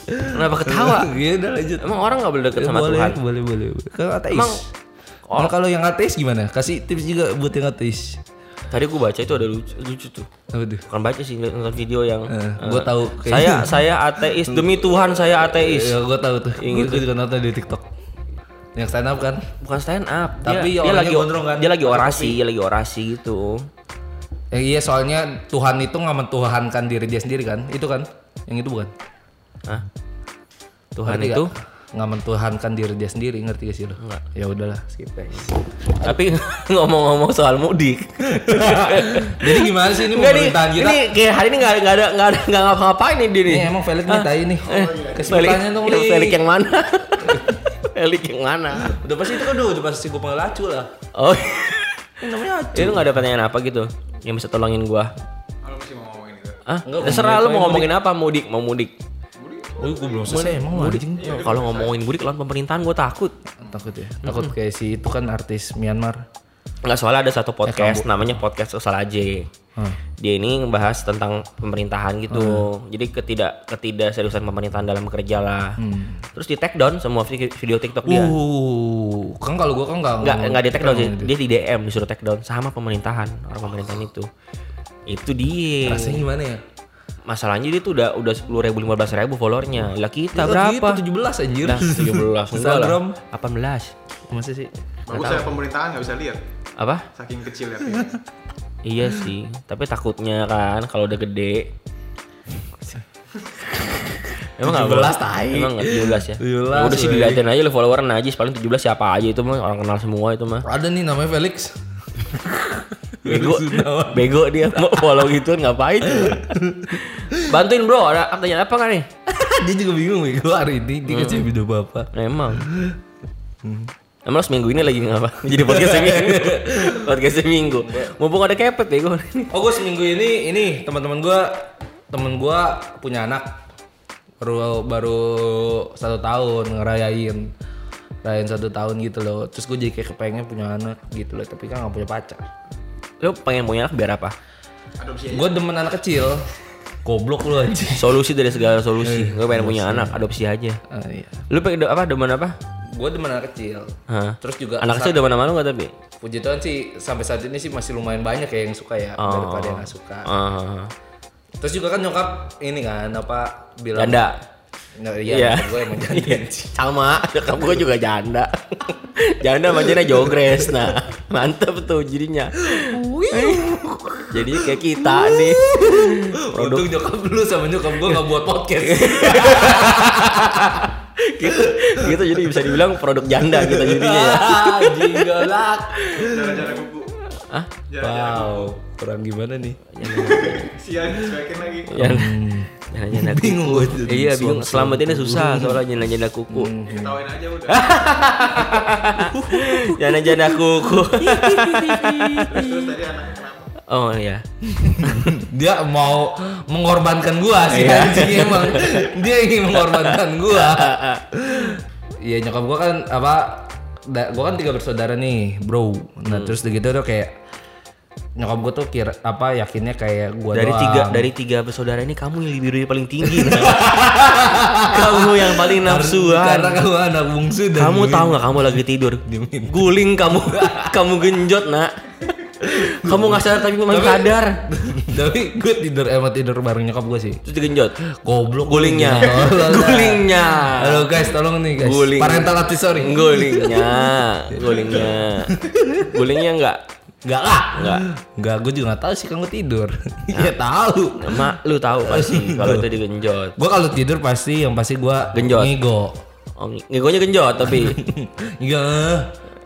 Speaker 1: kenapa ketawa
Speaker 4: Iya, udah lanjut.
Speaker 1: emang orang nggak boleh dekat
Speaker 4: Ya,
Speaker 1: sama
Speaker 4: boleh,
Speaker 1: Tuhan
Speaker 4: boleh, boleh, boleh. Kalau ateis.
Speaker 1: Emang-
Speaker 4: Nah, kalau yang ateis gimana? Kasih tips juga buat yang ateis.
Speaker 1: tadi gue baca itu ada lucu, lucu tuh
Speaker 4: Apa tuh?
Speaker 1: bukan baca sih nonton video yang
Speaker 4: Eh,
Speaker 1: eh,
Speaker 4: gua tahu gitu.
Speaker 1: saya saya ateis demi Tuhan saya ateis
Speaker 4: Ya, gue tahu tuh. Gue juga nonton di TikTok. Yang stand up kan?
Speaker 1: bukan stand up
Speaker 4: Tapi
Speaker 1: dia, dia
Speaker 4: orangnya
Speaker 1: lagi
Speaker 4: gondrong kan?
Speaker 1: dia lagi orasi dia lagi orasi gitu
Speaker 4: Ya, iya, soalnya Tuhan itu nggak mentuhankan diri dia sendiri kan? Itu kan? Yang itu bukan?
Speaker 1: Hah? Tuhan
Speaker 4: Ngerti
Speaker 1: itu
Speaker 4: nggak? nggak mentuhankan diri dia sendiri, ngerti gak sih lo? Ya udahlah, skip guys.
Speaker 1: tapi ngomong-ngomong soal mudik.
Speaker 4: Jadi gimana sih ini
Speaker 1: Enggak nih,
Speaker 4: pemerintahan kita?
Speaker 1: ini kayak hari ini nggak ada nggak ada nggak ada nggak ngapa-ngapain nih dia nih.
Speaker 4: Ini emang Felix nih tai nih. Kesimpulannya
Speaker 1: Felik,
Speaker 4: dong,
Speaker 1: yang
Speaker 4: Li.
Speaker 1: Felik yang mana? Felik yang mana?
Speaker 4: Udah pasti itu kan udah udah pasti gue pengelacu lah.
Speaker 1: Oh, itu nggak ada pertanyaan apa gitu yang bisa tolongin gua?
Speaker 2: Kalau masih mau ngomongin itu.
Speaker 1: Ah,
Speaker 4: Nggak,
Speaker 1: terserah lu
Speaker 4: ngomongin
Speaker 1: mau ngomongin apa mudik, mau mudik.
Speaker 4: Oh, gue belum selesai emang lu anjing.
Speaker 1: Kalau ngomongin mudik lawan pemerintahan gua takut.
Speaker 4: Takut ya. Takut kayak si itu kan artis Myanmar.
Speaker 1: Nggak soalnya ada satu podcast namanya podcast Usal aja.
Speaker 4: Ah.
Speaker 1: Dia ini ngebahas tentang pemerintahan
Speaker 4: Oh,
Speaker 1: gitu.
Speaker 4: iya.
Speaker 1: Jadi ketidak ketidakseriusan pemerintahan dalam kerja lah. Terus di take down semua vi- video TikTok dia.
Speaker 4: Hmm. Uh, kan kalau gue kan nggak
Speaker 1: Nggak
Speaker 4: ngomong-
Speaker 1: nggak di take down sih.
Speaker 4: ngomong gitu.
Speaker 1: Dia di DM disuruh take down sama pemerintahan, orang pemerintahan itu. Itu dia.
Speaker 4: Rasanya gimana ya?
Speaker 1: Masalahnya dia tuh udah udah 10.000 15.000 followernya. Lah kita
Speaker 4: Oh,
Speaker 1: berapa?
Speaker 4: gitu, 17 anjir.
Speaker 1: Nah, 17 enggak
Speaker 4: Instagram.
Speaker 1: lah. 18.
Speaker 4: Masa sih?
Speaker 2: Bagus saya pemerintahan nggak bisa lihat.
Speaker 1: Apa?
Speaker 2: Saking kecil ya. TV.
Speaker 1: Iya sih, tapi takutnya kan kalau udah gede. Emang nggak
Speaker 4: 17
Speaker 1: boleh?
Speaker 4: tai.
Speaker 1: Emang nggak 17 ya?
Speaker 4: 17,
Speaker 1: udah sih
Speaker 4: wey.
Speaker 1: diliatin aja lu follower najis paling 17 siapa aja itu mah orang kenal semua itu mah.
Speaker 4: Ada nih namanya Felix.
Speaker 1: Bego. Bego dia mau follow gitu ngapain? Bantuin bro, ada pertanyaan apa kan nih?
Speaker 4: dia juga bingung ya gue hari ini dia kasih video bapak.
Speaker 1: Emang. Emang lo seminggu ini lagi ngapa? Jadi podcast seminggu. podcast seminggu. Mumpung ada kepet bego.
Speaker 4: Oh gue seminggu ini ini teman-teman gue temen gue punya anak baru baru satu tahun ngerayain ngerayain satu tahun gitu loh terus gue jadi kayak kepengen punya anak gitu loh tapi kan gak punya pacar
Speaker 1: Lo pengen punya anak biar apa?
Speaker 2: Adopsi aja.
Speaker 4: gue demen anak kecil goblok lu anjing Eh,
Speaker 1: Solusi dari segala solusi. Gue pengen punya anak, adopsi aja.
Speaker 4: Ah, iya.
Speaker 1: Lu pengen do- apa demen apa?
Speaker 4: gue demen anak kecil.
Speaker 1: Hah?
Speaker 4: Terus juga
Speaker 1: Anak
Speaker 4: sa-
Speaker 1: kecil udah mana-mana nggak tapi?
Speaker 4: puji Tuhan sih sampai saat ini sih masih lumayan banyak ya yang suka ya daripada yang gak suka.
Speaker 1: Ah.
Speaker 4: Terus juga kan nyokap ini kan apa bilang
Speaker 1: Janda.
Speaker 4: Nah,
Speaker 1: Iya.
Speaker 4: iya, gue emang janda.
Speaker 1: Sama, nyokap gue juga janda. janda macamnya jogres. Nah, mantep tuh jadinya. Eh, jadinya kayak kita nih. Produk Iya.
Speaker 4: Untung nyokap dulu sama nyokap gue gak buat podcast.
Speaker 1: gitu, gitu jadi bisa dibilang produk janda gitu jadinya ya.
Speaker 4: Ah, Jingelak.
Speaker 2: Jalan-jalan kuku.
Speaker 1: Hah?
Speaker 2: Jalan-jalan.
Speaker 4: Wow, kurang gimana nih?
Speaker 2: Sian, cuekin lagi.
Speaker 1: Janda. Janda
Speaker 4: Bingung
Speaker 1: kuku.
Speaker 4: gua tuh.
Speaker 1: Iya, bingung. Selamatinnya susah soalnya janda-janda kuku.
Speaker 4: Hmm.
Speaker 2: Ketawain aja udah.
Speaker 1: Janda-janda kuku.
Speaker 2: Terus terus tadi anaknya kenapa?
Speaker 1: Oh iya.
Speaker 4: Dia mau mengorbankan gua sih
Speaker 1: Iya.
Speaker 4: anjing emang. Dia ingin mengorbankan gua. Iya nyokap gua kan apa da- gua kan tiga bersaudara nih, Bro.
Speaker 1: Hmm.
Speaker 4: Nah, terus udah gitu tuh kayak nyokap gua tuh kira apa yakinnya kayak gua
Speaker 1: dari
Speaker 4: doang.
Speaker 1: tiga dari tiga bersaudara ini kamu yang libidurnya paling tinggi Nak. kamu yang paling nafsuan
Speaker 4: karena kamu anak bungsu dan
Speaker 1: kamu tahu nggak kamu lagi tidur guling kamu kamu genjot nak kamu nggak sadar tapi memang
Speaker 4: Tapi-
Speaker 1: sadar
Speaker 4: tapi gue tidur emang tidur bareng nyokap gua sih
Speaker 1: terus digenjot
Speaker 4: goblok
Speaker 1: gulingnya
Speaker 4: Tolol dah.
Speaker 1: gulingnya
Speaker 4: Iya, halo guys tolong nih guys
Speaker 1: Guling.
Speaker 4: parental advisory
Speaker 1: gulingnya gulingnya gulingnya nggak
Speaker 4: Enggak lah.
Speaker 1: Nggak.
Speaker 4: Ah. Enggak, gue juga nggak tahu sih kamu tidur. Iya tahu.
Speaker 1: mak lu tahu pasti kalau itu digenjot
Speaker 4: Gue kalau tidur pasti yang pasti gue
Speaker 1: Genjot.
Speaker 4: Ngigo.
Speaker 1: oh, ngegonya genjot tapi
Speaker 4: Ngigo.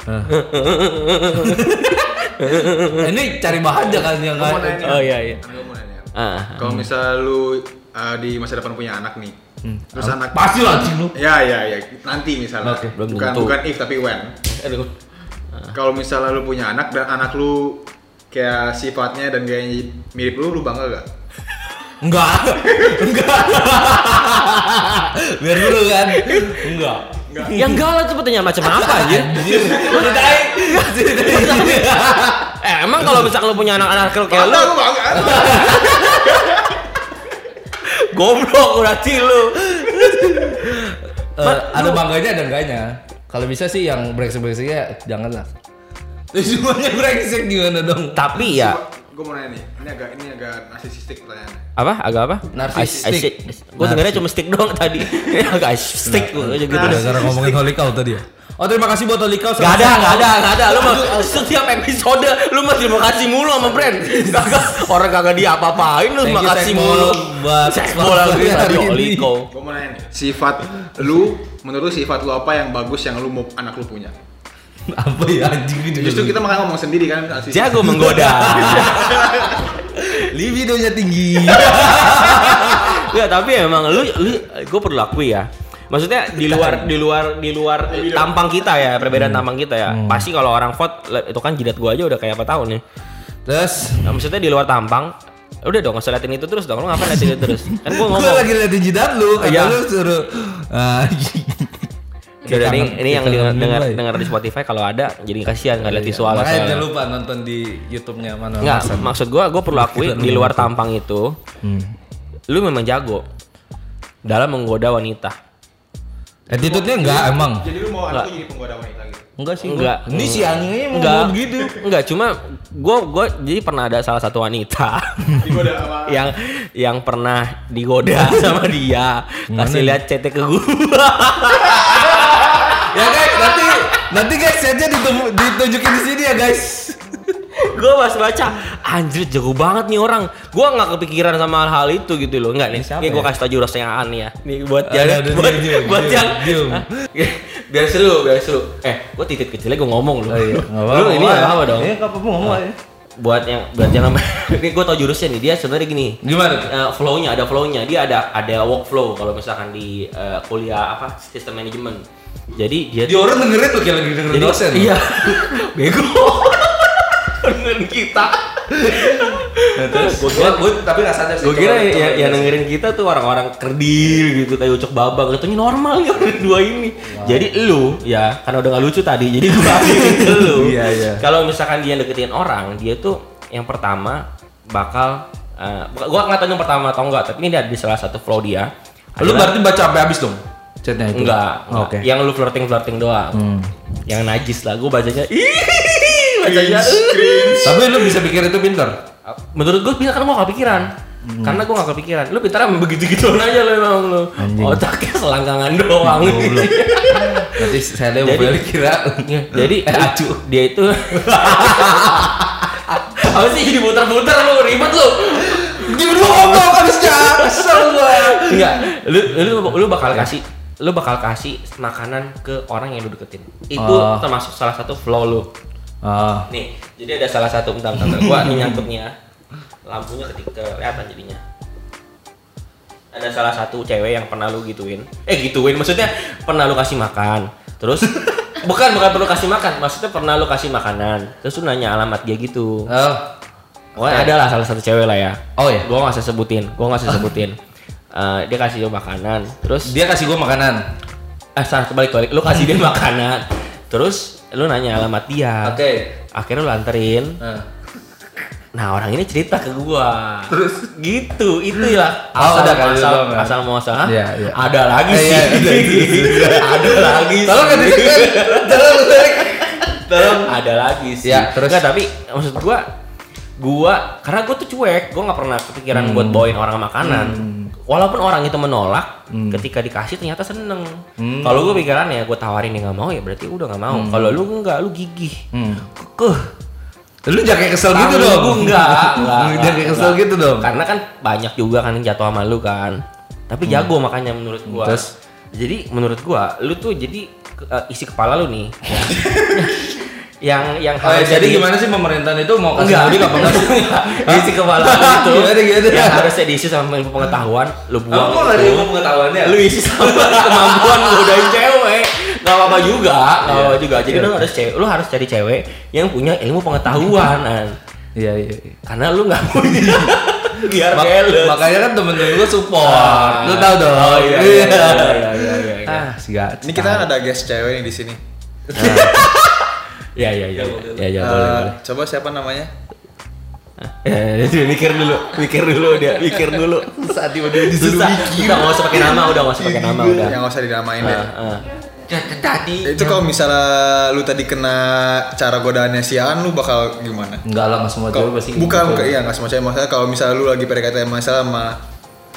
Speaker 4: Ah. Ini cari bahan jangan yang
Speaker 2: Gue mau nanya.
Speaker 1: oh iya iya
Speaker 2: Gue mau nanya.
Speaker 1: ah
Speaker 2: Kalau misal lu uh, di masa depan punya anak nih,
Speaker 1: Hmm.
Speaker 2: terus anak
Speaker 4: Pasti lah anjing lu.
Speaker 2: Ya ya ya nanti misalnya
Speaker 4: Oke,
Speaker 1: belum
Speaker 2: bukan
Speaker 1: tentu.
Speaker 2: bukan if tapi when.
Speaker 1: aduh
Speaker 2: Kalau misalnya lu punya anak dan anak lu kayak sifatnya dan gayanya mirip lu, lu bangga gak?
Speaker 4: Enggak. Enggak. Biar dulu kan. Enggak.
Speaker 1: Ya enggak lah itu pertanyaan macam apa anjir?
Speaker 4: Ceritain. Ceritain.
Speaker 1: eh, emang kalau misalkan lu punya anak-anak kecil
Speaker 4: Ah,
Speaker 1: kayak
Speaker 2: Bangga,
Speaker 1: lu,
Speaker 2: lu bangga.
Speaker 1: goblok berarti lu.
Speaker 4: Eh, ada bangganya ada enggaknya. Kalau bisa sih yang brengsek-brengseknya janganlah. Terus semuanya brengsek gimana dong?
Speaker 1: Tapi ya
Speaker 2: Gue mau nanya nih, ini agak ini agak narsisistik pertanyaannya.
Speaker 1: apa agak apa?
Speaker 4: Narsistik.
Speaker 1: Gue dengarnya cuma stick doang tadi. agak stick gue aja gitu.
Speaker 4: Gara-gara ngomongin holikau tadi ya. Oh terima kasih buat holikau.
Speaker 1: Gak ada, gak ada, gak ada. Lu mah setiap episode lu mah terima kasih mulu sama brand. Kagak orang kagak dia apa-apain lu
Speaker 4: Thank
Speaker 1: terima
Speaker 4: you,
Speaker 1: kasih
Speaker 4: Sekmo,
Speaker 1: mulu.
Speaker 4: buat
Speaker 1: Sekmo lagi
Speaker 4: sponsornya
Speaker 1: tadi
Speaker 4: hari ini.
Speaker 1: Oliko.
Speaker 2: Gue mau nanya nih, sifat lu menurut lu sifat lu apa yang bagus yang lu mau anak lu punya?
Speaker 4: Apa ya anjing gitu.
Speaker 2: Justru kita makan ngomong sendiri kan narsis.
Speaker 1: Jago menggoda.
Speaker 4: libidonya tinggi.
Speaker 1: Enggak, tapi emang lu, lu gue perlu akui ya. Maksudnya di luar di luar di luar tampang kita ya, perbedaan
Speaker 4: Hmm.
Speaker 1: tampang kita ya. Pasti kalau orang vote le- itu kan jidat gua aja udah kayak apa tahun ya.
Speaker 4: Terus
Speaker 1: Nah, maksudnya di luar tampang udah dong nggak usah liatin itu terus dong lu ngapain liatin itu terus kan gua
Speaker 4: gue
Speaker 1: ngomong
Speaker 4: lagi liat jidat lu, kata
Speaker 1: Iya.
Speaker 4: lu suruh. ah,
Speaker 1: Udah, udah, ini, ini yang denger,
Speaker 4: Kangen
Speaker 1: denger,
Speaker 4: Mumbai.
Speaker 1: denger di Spotify kalau ada jadi kasihan nggak lihat visual
Speaker 4: Makanya
Speaker 1: soalnya.
Speaker 4: jangan lupa nonton di YouTube-nya mana
Speaker 1: Nggak, maksud gua gua perlu akui di luar tampang itu lu memang jago dalam menggoda wanita
Speaker 4: Attitude-nya enggak emang.
Speaker 2: Jadi lu mau anak lu jadi penggoda wanita gitu.
Speaker 4: Enggak sih.
Speaker 1: Enggak.
Speaker 4: gua. Ini si anjingnya emang
Speaker 1: Enggak.
Speaker 4: ngomong gitu.
Speaker 1: Enggak, cuma gue gue jadi pernah ada salah satu wanita
Speaker 2: Digoda sama
Speaker 1: yang yang pernah digoda sama dia. Kasih lihat CT ke gue.
Speaker 4: Ya guys, nanti nanti guys setnya ditum- ditunjukin di sini ya guys.
Speaker 1: gue pas baca, anjir jago banget nih orang. Gue nggak kepikiran sama hal-hal itu gitu loh. Enggak nih.
Speaker 4: siapa
Speaker 1: Ini gue
Speaker 4: ya?
Speaker 1: kasih tau jurus yang aneh ya. Nih buat
Speaker 4: Ada,
Speaker 1: yang
Speaker 4: ada,
Speaker 1: buat,
Speaker 4: diem, diem,
Speaker 1: buat
Speaker 4: diem,
Speaker 1: yang
Speaker 4: diem.
Speaker 1: Hah? biar seru, biar seru. Eh, gue titik kecilnya gue ngomong
Speaker 4: Oh
Speaker 1: loh. Lu ini nggak apa dong.
Speaker 4: Iya, enggak apa-apa ngomong aja.
Speaker 1: Buat yang buat yang namanya ini gue tau jurusnya nih. Dia sebenarnya gini.
Speaker 4: Gimana? tuh?
Speaker 1: Eh, flow-nya ada flow-nya. Dia ada ada workflow kalau misalkan di eh, kuliah apa sistem manajemen. Jadi dia
Speaker 4: Di orang dengerin tuh kayak lagi dengerin
Speaker 1: jadi,
Speaker 4: dosen.
Speaker 1: Iya. Bego. dengerin kita.
Speaker 4: Nah, terus gua, gua tapi enggak sadar sih.
Speaker 1: Gue kira
Speaker 4: coba-
Speaker 1: ya,
Speaker 4: coba-
Speaker 1: yang dengerin kita tuh orang-orang kerdil gitu kayak ucok babak katanya normal nih orang dua ini. Jadi lu ya karena udah gak lucu tadi jadi gue ke lu.
Speaker 4: Iya, iya.
Speaker 1: Kalau misalkan dia deketin orang, dia tuh yang pertama bakal eh, gua nggak tahu yang pertama atau enggak, tapi ini ada di salah satu flow dia.
Speaker 4: Lu
Speaker 1: adalah-
Speaker 4: berarti baca sampai habis dong. Ya, chatnya
Speaker 1: Enggak.
Speaker 4: itu Oh,
Speaker 1: enggak.
Speaker 4: Gitu. oke
Speaker 1: Yang lu flirting flirting doang. Yang najis lah. Gue bacanya. Ih, bacanya.
Speaker 2: Cringe,
Speaker 1: "Ih."
Speaker 2: cringe.
Speaker 4: ya. tapi lu bisa pikir itu pinter
Speaker 1: Menurut gue pintar karena gue gak kepikiran. Karena gue gak kepikiran. Lu pintar emang begitu-gituan aja lu emang lu. Otaknya selangkangan doang.
Speaker 4: nanti saya
Speaker 1: Jadi-
Speaker 4: lihat mobilnya kira
Speaker 1: Iya, Jadi acu dia itu apa sih jadi muter-muter lu ribet lu
Speaker 4: gimana lu ngomong harusnya kesel gua
Speaker 1: enggak lu, lu lu bakal kasih lu bakal kasih makanan ke orang yang lu deketin itu
Speaker 4: Oh.
Speaker 1: termasuk salah satu flow lu
Speaker 4: oh
Speaker 1: nih jadi ada salah satu bentar bentar bentar. gua ini nyangkutnya ya. lampunya ketika kelihatan jadinya ada salah satu cewek yang pernah lu gituin eh gituin maksudnya pernah lu kasih makan terus bukan bukan perlu kasih makan maksudnya pernah lu kasih makanan terus lu nanya alamat dia gitu
Speaker 4: oh
Speaker 1: Pokoknya ada lah salah satu cewek lah ya.
Speaker 4: Oh, iya?
Speaker 1: Gua nggak usah sebutin, gua nggak usah sebutin. Eh, dia kasih lu makanan, terus
Speaker 4: dia kasih gua makanan
Speaker 1: eh salah balik balik, lu kasih dia makanan, terus lu nanya alamat dia.
Speaker 4: oke
Speaker 1: Akhirnya lu anterin.
Speaker 4: Nah.
Speaker 1: Nah orang ini cerita ke gua. Terus gitu, itu ya.
Speaker 4: Oh,
Speaker 1: Asal
Speaker 4: ada kali
Speaker 1: asal
Speaker 4: lu doang, kan?
Speaker 1: asal muasal.
Speaker 4: Iya, iya.
Speaker 1: Ada lagi
Speaker 4: Eh,
Speaker 1: sih.
Speaker 4: iya, ada
Speaker 1: ada lagi. sih.
Speaker 4: tolong gak ditekan tolong tarik
Speaker 1: ada lagi sih.
Speaker 4: Ya, terus?
Speaker 1: Nggak, tapi maksud gua gua karena gua tuh cuek, gua nggak pernah kepikiran buat
Speaker 4: Hmm.
Speaker 1: bawain orang makanan. Walaupun orang itu menolak,
Speaker 4: Hmm.
Speaker 1: ketika dikasih ternyata seneng. Kalau gua pikirannya gua tawarin dia nggak mau ya berarti udah nggak mau.
Speaker 4: Hmm.
Speaker 1: Kalau lu enggak, lu gigih. Kekeh.
Speaker 4: lu jangan kayak kesel gitu
Speaker 1: Tangan
Speaker 4: dong
Speaker 1: gua enggak, enggak,
Speaker 4: Lu
Speaker 1: enggak,
Speaker 4: jangan kayak kesel
Speaker 1: enggak.
Speaker 4: gitu dong
Speaker 1: Karena kan banyak juga kan yang jatuh sama lu kan. Tapi jago makanya menurut gua.
Speaker 4: Hmm. Terus?
Speaker 1: Jadi menurut gua lu tuh jadi ke- eh, isi kepala lu nih. yang yang
Speaker 4: Oh, ya,
Speaker 1: harusnya
Speaker 4: jadi
Speaker 1: di- Oh,
Speaker 4: gimana sih pemerintahan itu mau kasih
Speaker 1: Enggak,
Speaker 4: mudik apa enggak?
Speaker 1: enggak. Isi kepala lu itu.
Speaker 4: Gimana, gimana?
Speaker 1: Yang harusnya diisi sama ilmu pengetahuan, lu buang.
Speaker 4: Aku nggak ada
Speaker 1: itu.
Speaker 4: ilmu pengetahuannya.
Speaker 1: Lu isi sama kemampuan godain cewek. Gak apa-apa juga,
Speaker 4: Iya,
Speaker 1: gak apa-apa juga. Jadi lu harus cewek, lu harus cari cewek yang punya ilmu pengetahuan. An.
Speaker 4: Iya iya. iya.
Speaker 1: Karena lu gak punya. Biar
Speaker 4: Mak-
Speaker 1: balance.
Speaker 4: makanya kan temen-temen gue support.
Speaker 1: Ah.
Speaker 4: Lu tahu dong.
Speaker 1: Oh, iya, iya, iya, iya, iya, iya.
Speaker 4: Ah, si Gatot.
Speaker 2: Ini kita ada guest cewek nih di sini.
Speaker 1: Ya ya ya. Ya ya
Speaker 2: Eh,
Speaker 1: boleh. boleh.
Speaker 2: coba siapa namanya?
Speaker 1: Eh, dia mikir dulu, mikir dulu dia, mikir dulu. Saat tiba-tiba disuruh mikir. Iya. Udah nggak usah pakai nama, udah nggak usah pakai nama udah.
Speaker 2: Yang gak usah dinamain deh.
Speaker 1: Ah, ah.
Speaker 2: Itu kalau misalnya lu tadi kena cara godaannya si Aan, lu bakal gimana?
Speaker 4: Enggak lah nggak semua cewek
Speaker 2: Kalau-
Speaker 4: pasti gitu.
Speaker 2: bukan bukan, iya nggak semua cewek maksudnya kalau misalnya lu lagi PDKT masalah sama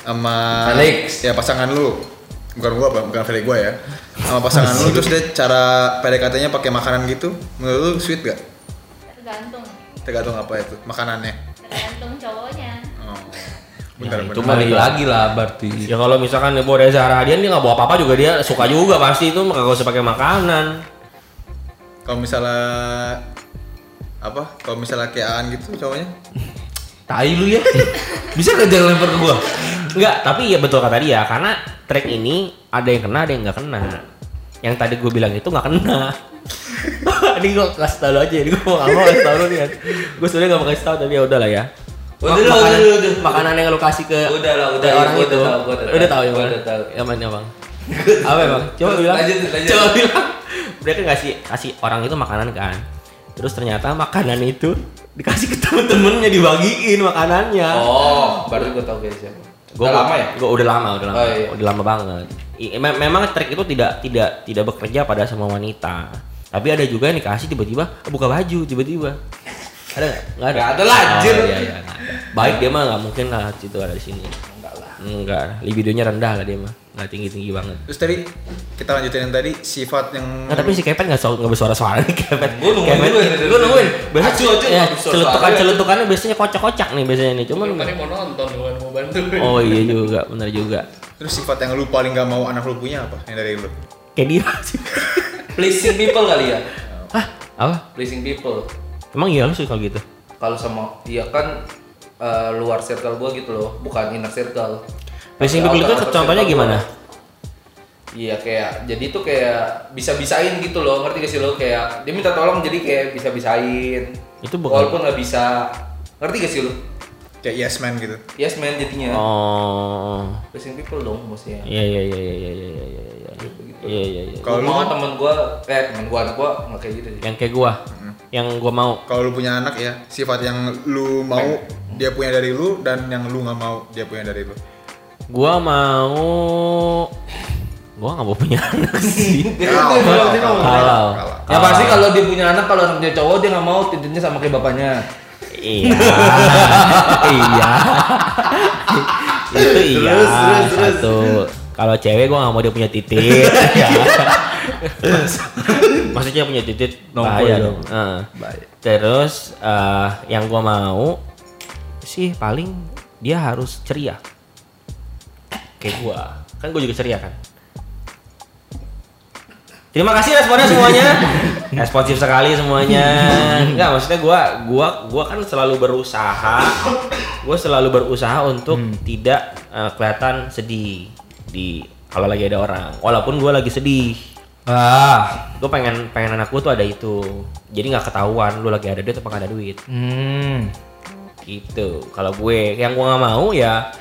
Speaker 2: sama
Speaker 4: Felix.
Speaker 2: ya pasangan lu bukan gua apa bukan Felix gua ya sama pasangan lu terus dia cara PDKT-nya pakai makanan gitu menurut lu sweet gak
Speaker 6: tergantung
Speaker 2: tergantung apa itu makanannya
Speaker 6: tergantung cowoknya
Speaker 2: oh. bentar
Speaker 1: Ya, itu
Speaker 2: bentar
Speaker 1: mah
Speaker 4: Balik
Speaker 1: Iya.
Speaker 4: lagi lah berarti.
Speaker 1: Ya kalau misalkan dia bawa Reza Radian dia nggak bawa apa-apa juga dia suka juga pasti itu nggak usah pakai makanan.
Speaker 2: kalau misalnya apa kalau misalnya kayak Aan gitu cowoknya
Speaker 4: Tai lu ya. Bisa gak jangan lempar ke gua?
Speaker 1: Enggak, tapi ya betul kata dia karena track ini ada yang kena ada yang nggak kena. Yang tadi gue bilang itu nggak kena. ini gue kasih tau lu aja, ini gue nggak mau kasih tau lu nih. Gue sebenarnya nggak mau kasih tau tapi ya udahlah ya.
Speaker 4: Udah lah,
Speaker 1: makanan,
Speaker 4: udah, udah, udah.
Speaker 1: makanan yang lo kasih ke
Speaker 4: Udah lah,
Speaker 1: ke
Speaker 4: udah, ya,
Speaker 1: orang
Speaker 4: gua
Speaker 1: itu.
Speaker 4: udah tahu, gua udah tahu.
Speaker 1: udah tahu ya
Speaker 4: Gua
Speaker 1: bang.
Speaker 4: udah tahu.
Speaker 1: Ya mana bang? Apa ya bang? Coba bilang.
Speaker 4: Lanjut, lanjut.
Speaker 1: Coba bilang. Mereka ngasih kasih orang itu makanan kan. Terus ternyata makanan itu dikasih ke temen-temennya dibagiin makanannya.
Speaker 4: Oh, baru gua tahu kayak siapa.
Speaker 1: Gua
Speaker 4: Udah lama ya?
Speaker 1: Gua udah lama, udah lama,
Speaker 4: Oh, iya.
Speaker 1: udah lama banget. I- me- memang trik itu tidak tidak tidak bekerja pada semua wanita. Tapi ada juga yang dikasih tiba-tiba eh, buka baju tiba-tiba. Ada nggak? Nggak ada.
Speaker 4: Nggak ada lah, anjir.
Speaker 1: iya, iya, nggak ada. Baik dia mah nggak mungkin lah itu ada di sini. Enggak lah. Enggak. Libidonya rendah lah dia mah. Nggak tinggi-tinggi banget.
Speaker 2: terus tadi kita lanjutin yang tadi sifat yang
Speaker 1: Nggak, Nah, tapi si Kepet nggak so- nggak bersuara-suara nih Kepet.
Speaker 4: Gua nungguin
Speaker 1: Kepet-
Speaker 4: juga ini dari
Speaker 1: Gua nungguin.
Speaker 4: tadi.
Speaker 1: Biasa
Speaker 4: Acu, acu,
Speaker 1: ya,
Speaker 4: nggak bersuara-suara.
Speaker 1: celutukan-celutukannya biasanya kocak-kocak nih biasanya nih. Cuman
Speaker 7: Kan yang mau nonton bukan mau bantu.
Speaker 1: Oh iya juga, benar juga.
Speaker 2: terus sifat yang lu paling gak mau anak lu punya apa yang dari lu
Speaker 1: Kayak dia sih.
Speaker 4: Pleasing people kali ya.
Speaker 1: Hah? Apa?
Speaker 4: Pleasing people.
Speaker 1: Emang iya lu suka gitu?
Speaker 4: Kalau sama iya kan eh, luar circle gua gitu loh, bukan inner circle.
Speaker 1: Racing
Speaker 4: Tapi
Speaker 1: people itu
Speaker 4: outer- outer
Speaker 1: contohnya
Speaker 4: circle
Speaker 1: gimana?
Speaker 4: gua. Iya kayak jadi itu kayak bisa-bisain gitu loh ngerti gak sih lo kayak dia minta tolong jadi kayak bisa-bisain
Speaker 1: Itu bukan-
Speaker 4: walaupun nggak bisa ngerti gak sih lo
Speaker 2: kayak yes man gitu
Speaker 4: yes man jadinya
Speaker 1: Oh.
Speaker 4: Racing people dong maksudnya
Speaker 1: Iya iya iya iya iya iya iya iya iya iya iya iya
Speaker 4: kalau
Speaker 2: Kalau lu
Speaker 4: mau
Speaker 2: kan-
Speaker 4: temen gua eh temen gua anak gua nggak kayak gitu sih
Speaker 1: yang kayak gua yang gua mau
Speaker 2: Kalau lu punya anak ya, sifat yang lu mau dia punya dari lu dan yang lu nggak mau dia punya dari lu.
Speaker 1: gua mau gua gua nggak mau punya anak Ya sih
Speaker 2: Kalau, kalau, kalau,
Speaker 1: kalau
Speaker 2: kalau.
Speaker 8: Ya pasti kalau dia punya anak, kalau anaknya cowok dia nggak mau titiknya sama kayak bapaknya.
Speaker 1: iya iya itu iya satu kalau cewek gua nggak mau dia punya titik ya. maksudnya punya titik
Speaker 4: Nongol
Speaker 1: bahaya
Speaker 4: dong.
Speaker 1: dong Ah. terus eh, yang gua mau sih paling dia harus ceria kayak gua kan gua juga ceria kan Terima kasih responnya semuanya. Responsif sekali semuanya. Enggak, maksudnya gua gua gua kan selalu berusaha. Gua selalu berusaha untuk tidak eh, kelihatan sedih di kalau lagi ada orang. Walaupun gua lagi sedih.
Speaker 4: Ah.
Speaker 1: Gue pengen pengen anak gue tuh ada itu. Jadi nggak ketahuan lu lagi ada duit apa nggak ada duit.
Speaker 4: Hmm.
Speaker 1: Gitu. Kalau gue yang gua nggak mau ya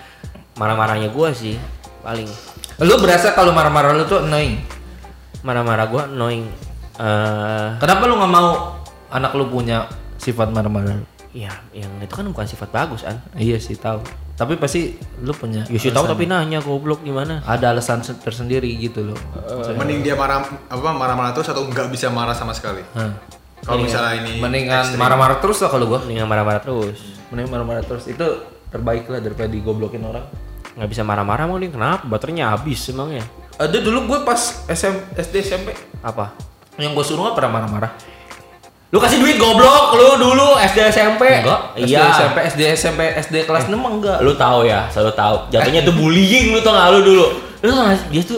Speaker 1: marah-marahnya gua sih paling
Speaker 4: Lu berasa kalau marah-marah lu tuh annoying.
Speaker 1: marah-marah gua annoying. Eh
Speaker 4: Kenapa lu nggak mau anak lu punya sifat marah-marah?
Speaker 1: ya yang itu kan bukan sifat bagus an.
Speaker 4: Iya sih tahu. Tapi pasti lu punya.
Speaker 1: Yoshi tahu tapi nanya goblok gimana?
Speaker 4: ada alasan se- tersendiri gitu loh.
Speaker 2: Mending dia marah apa marah-marah terus atau nggak bisa marah sama sekali.
Speaker 4: Hah.
Speaker 2: Kalau misalnya
Speaker 4: Eh,
Speaker 2: ini
Speaker 4: Mendingan marah-marah terus lah kalau gua.
Speaker 1: Mendingan marah-marah terus.
Speaker 4: Mending marah-marah terus itu terbaik lah daripada digoblokin orang.
Speaker 1: Nggak bisa marah-marah mau dia kenapa? Baterainya habis emangnya.
Speaker 4: Ada Eh, dulu gue pas SM, SD SMP
Speaker 1: Apa?
Speaker 4: yang gue suruh nggak pernah marah-marah.
Speaker 1: Lu kasih duit goblok lu dulu SD SMP.
Speaker 4: Iya. Eh,
Speaker 1: Iya.
Speaker 4: SD SMP SD SMP SD kelas 6
Speaker 1: Eh.
Speaker 4: enggak.
Speaker 1: Lu tahu ya, selalu tahu. Jatuhnya tuh bullying lu tau nggak lu dulu. Lu tau nggak, dia tuh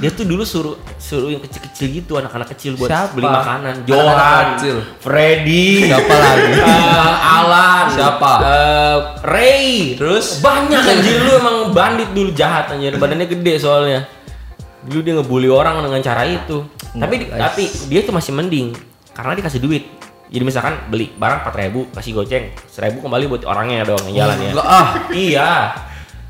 Speaker 1: dia tuh dulu suruh suruh yang kecil-kecil gitu anak-anak kecil buat
Speaker 4: Siapa?
Speaker 1: beli makanan.
Speaker 4: Anak-anak
Speaker 1: Johan,
Speaker 4: kecil.
Speaker 1: Freddy,
Speaker 4: Siapa lagi?
Speaker 1: Eh, Alan,
Speaker 4: Siapa?
Speaker 1: Eh, Ray,
Speaker 4: Terus?
Speaker 1: banyak anjir lu emang bandit dulu jahat anjir badannya gede soalnya dulu dia ngebully orang dengan cara itu tapi tapi dia tuh masih mending karena dikasih duit jadi misalkan beli barang 4000 kasih goceng 1000 kembali buat orangnya doang yang jalan ya
Speaker 4: Enggak ah.
Speaker 1: iya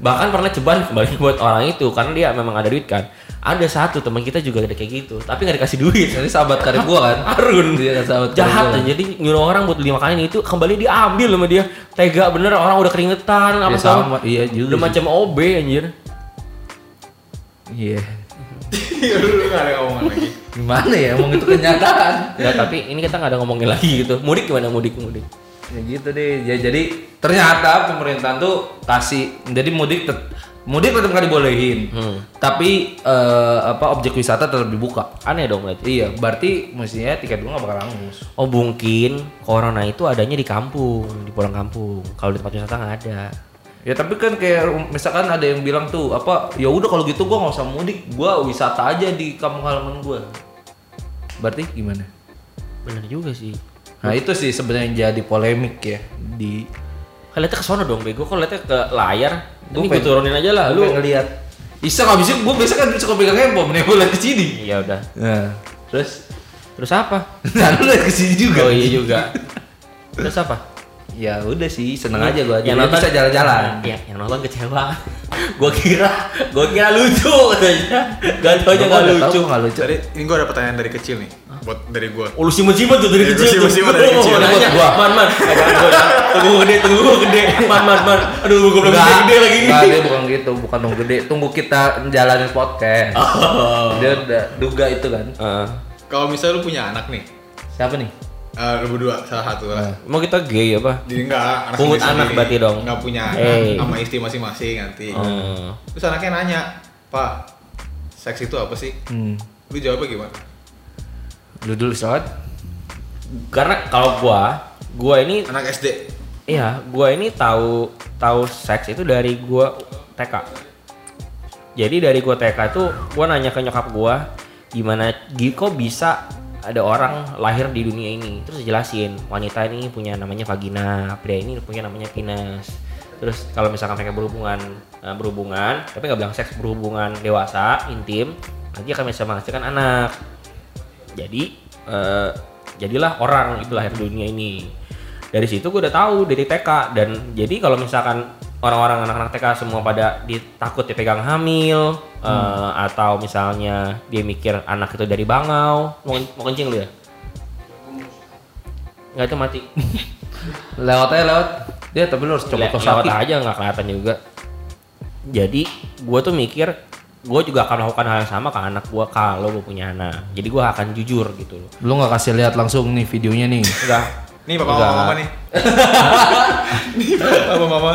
Speaker 1: bahkan pernah ceban kembali buat orang itu karena dia memang ada duit kan ada satu teman kita juga ada kayak gitu tapi nggak dikasih duit
Speaker 4: Jadi sahabat karib gue kan.
Speaker 1: Arun.
Speaker 4: Dia kan sahabat karib
Speaker 1: jahat
Speaker 4: gua.
Speaker 1: aja jadi nyuruh orang buat beli makanan itu kembali diambil sama dia tega bener orang udah keringetan apa
Speaker 4: Iya,
Speaker 1: segala-
Speaker 4: sama. Iya juga
Speaker 1: udah
Speaker 4: sih.
Speaker 1: macam OB anjir
Speaker 4: Iya.
Speaker 2: Lu nggak ada omongan lagi.
Speaker 4: Gimana ya emang itu kenyataan.
Speaker 1: ya tapi ini kita nggak ada ngomongin lagi gitu mudik gimana mudik mudik
Speaker 4: Ya gitu deh. Ya, jadi ternyata pemerintahan tuh kasih jadi mudik tet- mudik tetap nggak dibolehin. Tapi eh, apa objek wisata tetap dibuka.
Speaker 1: aneh dong berarti
Speaker 4: Iya, berarti mestinya tiket gua nggak bakal hangus.
Speaker 1: oh mungkin corona itu adanya di kampung di pulang kampung kalau di tempat wisata nggak ada
Speaker 4: Ya tapi kan kayak rum- misalkan ada yang bilang tuh apa ya udah kalau gitu gua nggak usah mudik, gua wisata aja di kampung halaman gua. Berarti gimana?
Speaker 1: bener juga sih
Speaker 4: Nah itu sih sebenarnya yang jadi polemik ya di
Speaker 1: kalian Kan ke sono dong bego kalau lihatnya ke layar
Speaker 4: Gua
Speaker 1: ini gue
Speaker 4: pengen-
Speaker 1: turunin aja lah
Speaker 4: lu
Speaker 1: lu
Speaker 4: ngelihat. Iseng habis itu gua biasa kan suka pegang handphone, nih gua liat ke sini.
Speaker 1: iya udah
Speaker 4: Nah, terus
Speaker 1: terus apa
Speaker 4: nah lu liat ke sini juga.
Speaker 1: oh iya juga terus apa
Speaker 4: Ya udah sih, seneng aja gua aja.
Speaker 1: Yang
Speaker 4: Lu
Speaker 1: nonton-
Speaker 4: bisa jalan-jalan.
Speaker 1: Iya, yang nonton kecewa. gua kira, gua kira lucu katanya. Gak tau aja
Speaker 4: Gua
Speaker 1: gak
Speaker 4: udah tahu
Speaker 1: lucu.
Speaker 4: gua nggak lucu.
Speaker 2: Jadi ini gue ada pertanyaan dari kecil nih, buat dari gue.
Speaker 1: Oh, lu simpen-simpen tuh dari
Speaker 2: Iya,
Speaker 1: kecil.
Speaker 2: gua simpen-simpen dari
Speaker 1: Lu mau
Speaker 2: kecil.
Speaker 1: nanya,
Speaker 4: Gua.
Speaker 1: Man, man. Eh, jangan gua, jangan. Tunggu gua gede, tunggu gua gede. Man, man, man. Aduh, gua belum gede, gede lagi.
Speaker 4: Enggak, dia bukan gitu, bukan nunggu gede. Tunggu kita jalanin podcast. Dia udah duga itu kan.
Speaker 1: Heeh.
Speaker 2: Kalau misalnya lu punya anak nih,
Speaker 4: Siapa nih?
Speaker 2: eh, lu berdua salah satu lah.
Speaker 1: mau kita gay apa?
Speaker 2: Jadi enggak, anak
Speaker 1: Hmm. Pungut anak berarti dong.
Speaker 2: Enggak punya anak
Speaker 1: Eh.
Speaker 2: sama istri masing-masing nanti.
Speaker 1: Hmm.
Speaker 2: Terus anaknya nanya, "Pak, seks itu apa sih?"
Speaker 4: Hmm.
Speaker 2: Lu jawabnya gimana?
Speaker 4: Lu dulu Sot.
Speaker 1: Karena kalau gua, gua ini
Speaker 2: Anak SD.
Speaker 1: Iya, gua ini tahu tahu seks itu dari gua TK. Jadi dari gua TK tuh gua nanya ke nyokap gua gimana gi- kok bisa ada orang lahir di dunia ini. Terus jelasin, wanita ini punya namanya vagina, pria ini punya namanya penis. Terus kalau misalkan mereka berhubungan eh, berhubungan, tapi nggak bilang seks berhubungan dewasa, intim, nanti akan bisa menghasilkan anak. Jadi eh, jadilah orang itu lahir di dunia ini. Dari situ gue udah tahu dari TK dan jadi kalau misalkan orang-orang anak-anak TK semua pada ditakut dipegang hamil eh, atau misalnya dia mikir anak itu dari bangau mau, mau kencing lu ya? Nggak itu mati.
Speaker 4: Lewat aja lewat. Dia tapi lu harus coba
Speaker 1: Le-
Speaker 4: kos
Speaker 1: lewat
Speaker 4: kaki.
Speaker 1: aja nggak kelihatan juga jadi gue tuh mikir gue juga akan melakukan hal yang sama ke anak gue kalau gue punya anak. Jadi gue akan jujur gitu loh.
Speaker 3: Lu nggak kasih lihat langsung nih videonya nih.
Speaker 1: Enggak.
Speaker 2: Nih papa mama, mama nih. nih papa mama.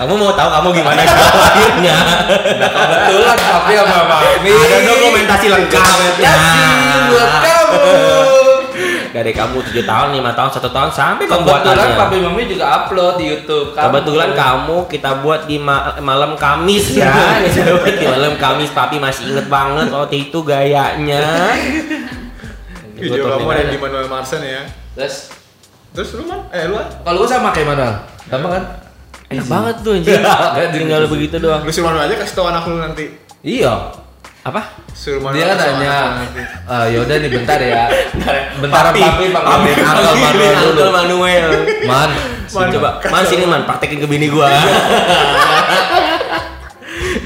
Speaker 1: Kamu mau tahu kamu gimana cara lahirnya?
Speaker 4: Kebetulan tapi sama Mami.
Speaker 1: Ada dokumentasi lengkap.
Speaker 4: Kasih
Speaker 2: Nah,
Speaker 4: buat kamu.
Speaker 1: Dari kamu 7 tahun, 5 tahun, 1 tahun sampai
Speaker 4: Kebetulan
Speaker 1: pembuatannya.
Speaker 4: Papi Mami juga upload di YouTube. kan? Kamu-
Speaker 1: Kebetulan kamu kita buat di ma- malam Kamis ya. Kita buat di malam Kamis papi masih inget banget waktu itu gayanya.
Speaker 2: Video
Speaker 1: Tutup nih,
Speaker 2: kamu ada
Speaker 1: mana?
Speaker 2: di Manuel Marsen ya.
Speaker 4: Terus
Speaker 2: Terus lu man? Eh lu ah.
Speaker 4: kalau gue sama kayak mana? Sama kan?
Speaker 1: Enak banget tuh anjing. Tinggal begitu doang.
Speaker 2: Lu suruh Manuel aja kasih tau anak lu nanti.
Speaker 4: Iya.
Speaker 1: Apa?
Speaker 2: Suruh
Speaker 4: Dia kan
Speaker 2: Manuel. kasih tau
Speaker 4: tanya,
Speaker 2: anak lu nanti.
Speaker 4: "Eh, yaudah nih bentar ya. Bentar
Speaker 1: Papi,
Speaker 4: papi panggilin Uncle Manuel dulu.
Speaker 1: Uncle Manuel.
Speaker 4: Man,
Speaker 2: Man,
Speaker 1: Coba, man sini man, praktekin ke bini gua.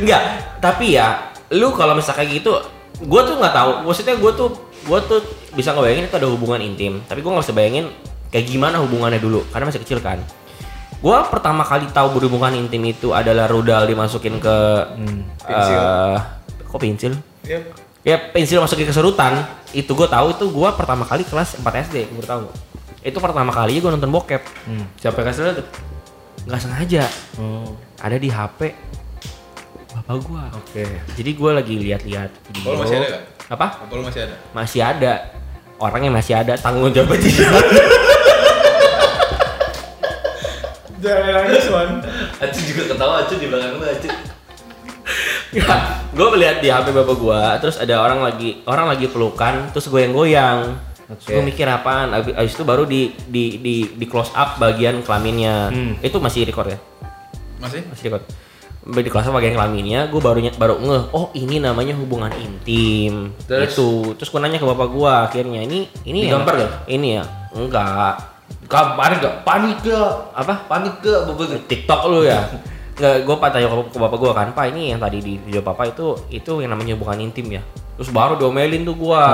Speaker 1: Enggak, tapi ya, lu kalau misalnya kayak gitu, gua tuh nggak tahu. Maksudnya gua tuh, gua tuh bisa ngebayangin itu ada hubungan intim. Tapi gua nggak bisa bayangin kayak gimana hubungannya dulu, karena masih kecil kan. Gua pertama kali tahu berhubungan intim itu adalah rudal dimasukin ke
Speaker 2: Pensil.
Speaker 1: eh, kok pensil?
Speaker 2: Iya.
Speaker 1: ya pensil masukin ke serutan itu gue tahu itu gue pertama kali kelas 4 SD gue tahu itu pertama kali gue nonton bokep
Speaker 3: Hmm. Siapa yang kasih lihat?
Speaker 1: nggak sengaja
Speaker 3: Oh,
Speaker 1: ada di HP bapak gue
Speaker 3: oke.
Speaker 1: jadi gue lagi lihat-lihat video.
Speaker 2: Kalau Oh, masih ada nggak?
Speaker 1: apa
Speaker 2: Apa lu masih ada?
Speaker 1: masih ada orangnya masih ada tanggung jawab tidak
Speaker 2: Jangan nangis man.
Speaker 4: Acu juga ketawa Acu di belakang lu Acu.
Speaker 1: gue melihat di HP bapak gue terus ada orang lagi orang lagi pelukan terus goyang-goyang
Speaker 3: Oke.
Speaker 1: gue mikir apaan abis, abis itu baru di di di di close up bagian kelaminnya itu masih record ya
Speaker 2: Masih?
Speaker 1: masih record di kelas bagian kelaminnya gue baru nyet- baru ngeh oh ini namanya hubungan intim
Speaker 4: Terus?
Speaker 1: itu terus gue nanya ke bapak gue akhirnya ini ini ya
Speaker 4: Digampar nggak?
Speaker 1: ini ya enggak
Speaker 4: Kamu panik gak? Panik gak?
Speaker 1: apa
Speaker 4: Panik gak? Bobot
Speaker 1: TikTok lu ya nggak gue tanya ke, ke bapak gue kan pak ini yang tadi di video papa itu itu yang namanya hubungan intim ya terus baru diomelin tuh gue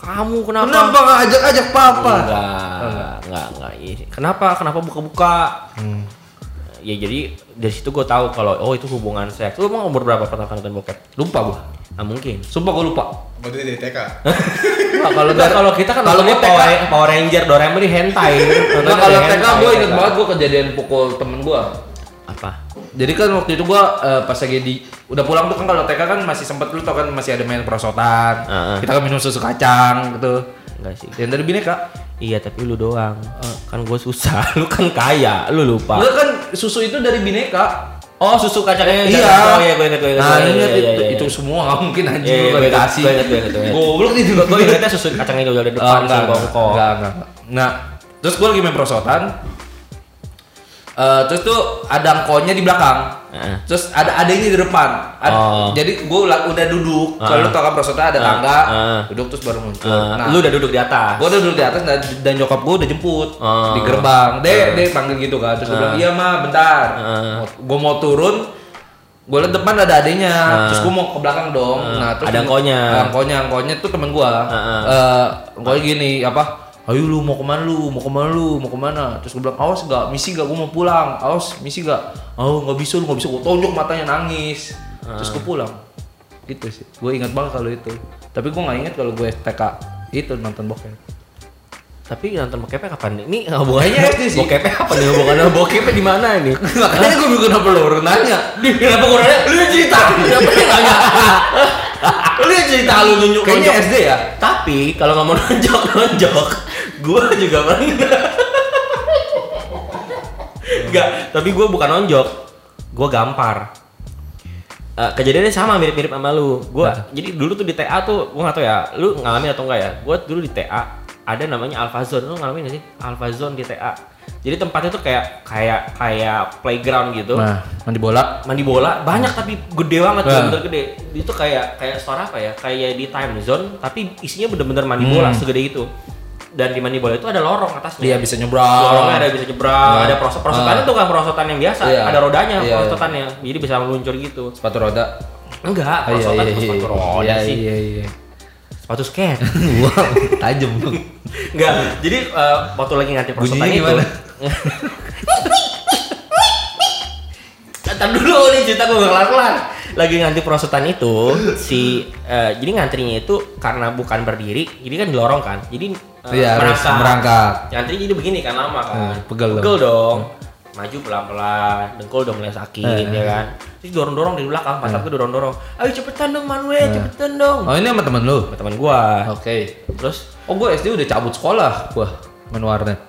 Speaker 1: kamu kenapa
Speaker 4: Hmm. Kenapa Hmm. gak ajak-ajak papa?
Speaker 1: Enggak, enggak, enggak. Iya. Kenapa? Kenapa buka-buka?
Speaker 4: Hmm.
Speaker 1: Ya jadi dari situ gue tahu kalau oh itu hubungan seks. Lu emang umur berapa pertama kali nonton bokep?
Speaker 4: Lupa gua.
Speaker 1: Nah mungkin.
Speaker 4: Sumpah gua lupa.
Speaker 2: Waktu itu dari TK.
Speaker 1: Nah, kalau kalau kita kan
Speaker 4: Kalau
Speaker 1: nontonnya
Speaker 4: gua TK.
Speaker 1: Power, Power Ranger, Doraemon di hentai. Nontonnya
Speaker 4: Nah, kalau
Speaker 1: dari
Speaker 4: TK
Speaker 1: hentai,
Speaker 4: gua inget
Speaker 1: TK.
Speaker 4: banget gua kejadian pukul temen gua.
Speaker 1: Apa?
Speaker 4: Jadi kan waktu itu gua eh, pas lagi di udah pulang tuh kan kalau TK kan masih sempet dulu tau kan masih ada main perosotan.
Speaker 1: Heeh.
Speaker 4: Kita kan minum susu kacang gitu.
Speaker 1: Enggak sih.
Speaker 4: Yang dari bineka.
Speaker 1: Iya tapi lu doang. Kan gue susah. Lu kan kaya. Lu lupa.
Speaker 4: Enggak kan susu itu dari bineka.
Speaker 1: Oh susu kacangnya.
Speaker 4: Iya.
Speaker 1: Oh iya gue inget gue inget.
Speaker 4: Nah,
Speaker 1: Iya,
Speaker 4: inget
Speaker 1: iya, iya,
Speaker 4: itu,
Speaker 1: iya.
Speaker 4: itu semua nggak mungkin
Speaker 1: Iya,
Speaker 4: anjing
Speaker 1: iya,
Speaker 4: lu gak
Speaker 1: gua inget,
Speaker 4: dikasih.
Speaker 1: gua inget, gua inget, gua inget.
Speaker 4: Goblok nih juga
Speaker 1: Gue ingetnya susu kacangnya udah di
Speaker 4: Oh,
Speaker 1: depan
Speaker 4: enggak,
Speaker 1: sih
Speaker 4: enggak,
Speaker 1: bongkok.
Speaker 4: enggak, enggak, enggak. Nah, terus gue lagi main perosotan. Eh, terus tuh ada angkonya di belakang.
Speaker 1: Heeh.
Speaker 4: Terus ada adanya di depan. Ad-
Speaker 1: Oh.
Speaker 4: Jadi gue udah duduk.
Speaker 1: Heeh.
Speaker 4: Kalau lu tau kan perosotan ada
Speaker 1: Heeh,
Speaker 4: tangga,
Speaker 1: heeh.
Speaker 4: duduk terus baru
Speaker 1: Eh,
Speaker 4: muncul. nah,
Speaker 1: lu udah duduk di atas.
Speaker 4: gue udah duduk di atas dan, dan nyokap gue udah jemput
Speaker 1: Oh.
Speaker 4: di gerbang. Dek, dek panggil gitu kan. Terus gue
Speaker 1: Ah.
Speaker 4: bilang, "Iya, Ma, bentar."
Speaker 1: Heeh.
Speaker 4: Gue mau turun, gue liat depan ada adanya,
Speaker 1: Heeh.
Speaker 4: terus gue mau ke belakang dong. Nah, terus
Speaker 1: Ah. Ada angkonya. Ah,
Speaker 4: Angkonya, angkonya tuh temen gue.
Speaker 1: Heeh.
Speaker 4: Eh, angkonya gini, apa? Ayo lu mau kemana lu, mau kemana lu, mau kemana? Terus gue bilang, awas gak, misi gak, gue mau pulang. Awas, misi gak. Oh, gak bisa lu, gak bisa. Gue tonjok matanya nangis.
Speaker 1: Ah.
Speaker 4: Terus gue pulang. Gitu sih, gue ingat banget kalau itu. Tapi gue gak ingat kalau gue TK itu nonton bokep.
Speaker 1: Tapi nonton bokepnya kapan nih? Ini hubungannya
Speaker 4: Kayaknya SD Iya sih.
Speaker 1: Bokepnya apa nih? Hubungannya bokepnya di mana nih?
Speaker 4: Makanya gue bikin apa lu, orang nanya.
Speaker 1: Kenapa gue nanya? Lu yang cerita. Kenapa dia nanya? Lu yang cerita lu nunjuk
Speaker 4: Kayaknya
Speaker 1: nunjuk.
Speaker 4: SD ya?
Speaker 1: Tapi kalau nggak mau nonjok nonjok, gue juga pernah. Enggak, tapi gue bukan nonjok. Gue gampar. Eh, kejadiannya sama mirip-mirip sama lu. Gua jadi dulu tuh di TA tuh gua nggak tahu ya, lu ngalamin atau enggak ya? Gua dulu di TA ada namanya Alpha Zone. Lu ngalamin gak sih Alpha Zone di TA? Jadi tempatnya tuh kayak kayak kayak playground gitu
Speaker 3: Nah, mandi bola.
Speaker 1: mandi bola banyak tapi gede banget
Speaker 3: Nah.
Speaker 1: bener gede itu kayak kayak store apa ya kayak di time zone tapi isinya bener-bener mandi
Speaker 3: Hmm.
Speaker 1: bola segede itu dan di mandi bola itu ada lorong atasnya
Speaker 3: Dia Iya, bisa nyebrang.
Speaker 1: lorongnya ada bisa nyebrang ada proses prosotannya
Speaker 3: Nah.
Speaker 1: tuh kan prosotan yang biasa
Speaker 3: Iya.
Speaker 1: ada rodanya
Speaker 3: Iya, iya.
Speaker 1: prosotannya jadi bisa meluncur gitu
Speaker 3: Sepatu roda.
Speaker 1: enggak
Speaker 3: Oh, iya,
Speaker 1: prosotan
Speaker 3: iya, iya.
Speaker 1: sepatu roda
Speaker 3: Iya,
Speaker 1: sih
Speaker 3: Iya, iya.
Speaker 1: sepatu skate
Speaker 3: Wow, tajam lu.
Speaker 1: enggak jadi eh, waktu lagi nganti prosotan
Speaker 3: Bunyinya
Speaker 1: itu
Speaker 3: gimana?
Speaker 1: Ntar dulu nih cerita gue gak kelar-kelar lagi ngantri perosotan itu si eh, jadi ngantrinya itu karena bukan berdiri jadi kan dorong kan jadi eh,
Speaker 3: Iya, harus
Speaker 1: merangkak.
Speaker 3: merangkak.
Speaker 1: ngantri jadi begini kan lama kan
Speaker 3: Hmm, pegel dong.
Speaker 1: dong maju pelan-pelan dengkul udah mulai sakit
Speaker 3: Eh,
Speaker 1: ya kan terus dorong-dorong dari belakang pas aku dorong-dorong ayo cepetan dong Manuel cepetan dong
Speaker 3: Oh ini sama temen lu?
Speaker 1: sama teman gua
Speaker 3: Oke.
Speaker 1: terus
Speaker 3: Oh gue SD udah cabut sekolah gua main warnet.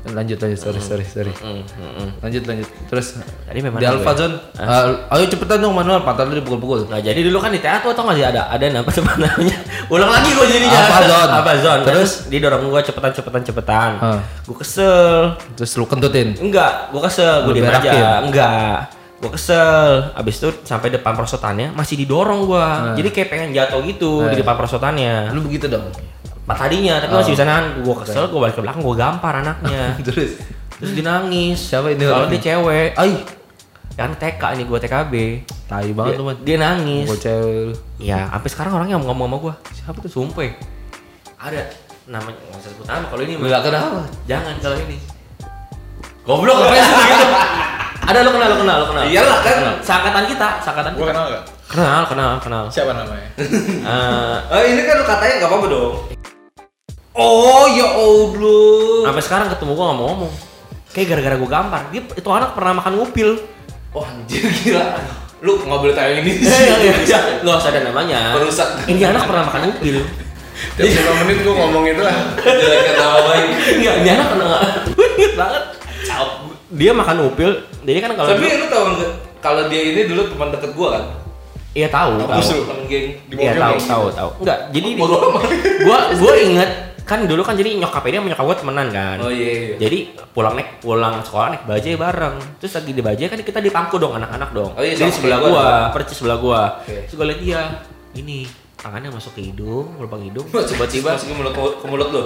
Speaker 3: Lanjut lanjut sorry sorry sorry.
Speaker 1: mm, mm, mm.
Speaker 3: Lanjut lanjut. Terus
Speaker 1: Tadi memang
Speaker 3: di Alfa Zone, eh, ayo cepetan dong manual pantat lu dipukul-pukul.
Speaker 1: Nah jadi dulu kan di TA tuh tau gak sih ada ada apa sih namanya? Ulang lagi gue jadinya.
Speaker 3: Apa zone?
Speaker 1: Apa zone?
Speaker 3: Terus? Ah.
Speaker 1: Terus didorong gue cepetan cepetan cepetan.
Speaker 3: Hah.
Speaker 1: Gue kesel.
Speaker 3: Terus lu kentutin.
Speaker 1: Enggak, gue kesel. Gue
Speaker 3: Lu ya?
Speaker 1: diem
Speaker 3: berakin?
Speaker 1: aja. Enggak. Gue kesel. Abis itu sampai depan perosotannya masih didorong gue.
Speaker 3: Ah.
Speaker 1: Jadi kayak pengen jatuh gitu di depan perosotannya.
Speaker 3: Lu begitu dong.
Speaker 1: Empat
Speaker 3: Ah.
Speaker 1: tadinya tapi masih bisa nahan. Gue kesel, gue balik ke belakang, gue gampar anaknya.
Speaker 3: Terus
Speaker 1: Terus dia nangis.
Speaker 3: Siapa ini
Speaker 1: Kalau
Speaker 3: orangnya?
Speaker 1: dia cewek. Ay, Kan yang TK nih gue TKB.
Speaker 3: tai
Speaker 1: Dia,
Speaker 3: banget lu man.
Speaker 1: dia nangis.
Speaker 3: Bocel lu.
Speaker 1: Ya, sampai sekarang orangnya ngomong sama gua. Siapa tuh? Sumpah. ya. Ada namanya nggak usah sebut nama kalau ini mah.
Speaker 3: Enggak kenapa?
Speaker 1: Jangan kalau ini. Goblok apa sih gitu? Ada lo kenal, lo kenal, lo kenal.
Speaker 4: Iyalah, kan.
Speaker 1: Kenal. Seangkatan kita, seangkatan
Speaker 2: Gua
Speaker 1: kita.
Speaker 2: kenal gak?
Speaker 1: Kenal, kenal, kenal.
Speaker 2: Siapa namanya?
Speaker 1: Eh,
Speaker 4: Eh, ini kan lu katanya nggak apa-apa dong. Oh ya Allah.
Speaker 1: sampai sekarang ketemu gua nggak mau ngomong. Kayak gara-gara gua gampar. Dia itu anak pernah makan ngupil.
Speaker 4: Oh anjir gila. Lu nggak boleh tayang ini.
Speaker 1: Iya, Lo harus ada namanya.
Speaker 4: Iya, Perusak.
Speaker 1: Ini anak pernah makan ngupil.
Speaker 2: Tiap 5 menit gua ngomong itu lah
Speaker 4: Jangan kata baik.
Speaker 1: Enggak, ini anak pernah nggak? Ingat banget. Dia makan ngupil. Jadi kan kalau
Speaker 4: Tapi lu tau nggak? Kalau dia ini dulu teman deket gua kan.
Speaker 1: Iya tahu, tahu.
Speaker 2: Musuh.
Speaker 4: Temen geng.
Speaker 1: Iya
Speaker 2: Di mobil
Speaker 1: tahu,
Speaker 2: kayak
Speaker 1: tahu, tahu. Enggak, jadi di-
Speaker 4: Bodoh amat.
Speaker 1: gua gua inget kan dulu kan jadi nyokap ini sama nyokap gua temenan kan.
Speaker 4: Oh iya iya.
Speaker 1: Jadi pulang naik pulang sekolah naik bajai bareng. Terus lagi di bajai kan kita dipangku dong anak-anak dong.
Speaker 4: Oh iya,
Speaker 1: jadi
Speaker 4: sama
Speaker 1: sebelah
Speaker 4: kayak
Speaker 1: gua,
Speaker 4: gua
Speaker 1: percis sebelah gua.
Speaker 4: Oke.
Speaker 1: Terus gua liat dia ini tangannya masuk ke hidung, lubang hidung.
Speaker 4: Coba-coba masuk ke mulut ke mulut lu.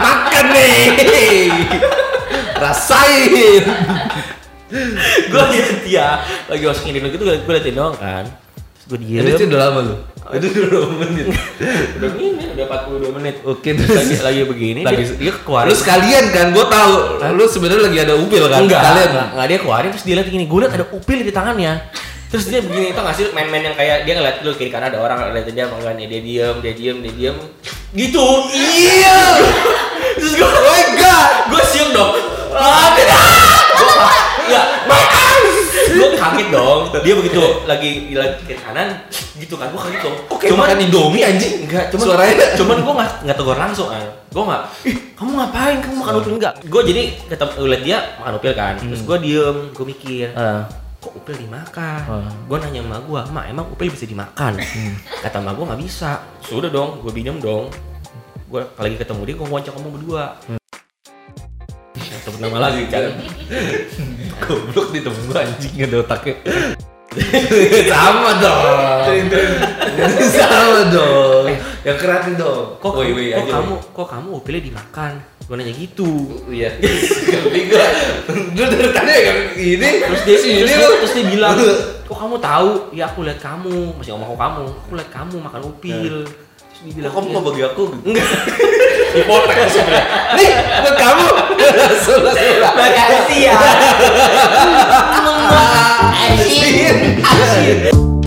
Speaker 1: Makan nih.
Speaker 3: Rasain.
Speaker 1: gua liat iya. dia lagi masuk ke hidung gitu gua, gua liatin doang kan. Terus gua diem.
Speaker 3: Jadi itu udah lama lu.
Speaker 1: Itu udah menit. udah ini udah 42 menit.
Speaker 3: Oke.
Speaker 1: Lagi lagi begini
Speaker 3: Lagi-
Speaker 1: dia, dia keluarin.
Speaker 3: Lu sekalian kan, gue tahu. Lu sebenarnya lagi ada upil kan?
Speaker 1: enggak,
Speaker 3: Sekalian.
Speaker 1: enggak, enggak, dia keluarin terus dia lihat gini, gue liat ada upil di tangannya. Terus dia begini tau gak sih main-main yang kayak dia ngeliat dulu kiri kanan ada orang liatin dia apa enggak nih dia diem dia diem dia diem gitu iya terus gue oh my god gue siung dong ah tidak gue enggak gue kaget dong dia begitu lagi lagi kiri kanan gitu kan gue kaget dong
Speaker 3: Oke, makan Indomie anjing.
Speaker 1: Enggak, cuman
Speaker 3: Suaranya.
Speaker 1: cuman gue nggak nggak tegur langsung kan. Gue nggak, ih kamu ngapain? Kamu makan upil enggak? Gue jadi ketemu liat dia makan upil kan.
Speaker 3: Hmm.
Speaker 1: Terus gue diem, gue mikir, kok upil dimakan?
Speaker 3: Ah.
Speaker 1: Gue nanya sama gue, ma emang upil bisa dimakan?
Speaker 3: Hmm.
Speaker 1: Kata ma gue nggak bisa. Sudah dong, gue minum dong. Gue lagi ketemu dia, gue ngoncok kamu berdua. Sebut nama lagi kan.
Speaker 3: Goblok di temen gue anjing ada otaknya. Sama dong. Sama dong.
Speaker 4: Yang kreatif dong.
Speaker 1: Kok,
Speaker 4: Woi, woi,
Speaker 1: kok
Speaker 4: aja,
Speaker 1: kamu, kok kamu upilnya dimakan? Gue nanya gitu.
Speaker 4: woi. Iya. Ganti gua. Lu dari tadi ya ini
Speaker 1: terus dia
Speaker 4: sini
Speaker 1: terus,
Speaker 4: lu.
Speaker 1: dia- terus dia bilang kok kamu tahu ya aku lihat kamu masih ngomong kok kamu aku lihat kamu makan upil terus dia bilang gitu.
Speaker 4: Iya. Kok kamu nggak bagi aku?
Speaker 1: enggak
Speaker 4: Dipotong sebenarnya.
Speaker 3: Nih, buat kamu. Sulah, sulah.
Speaker 1: makasih ya
Speaker 3: Asin.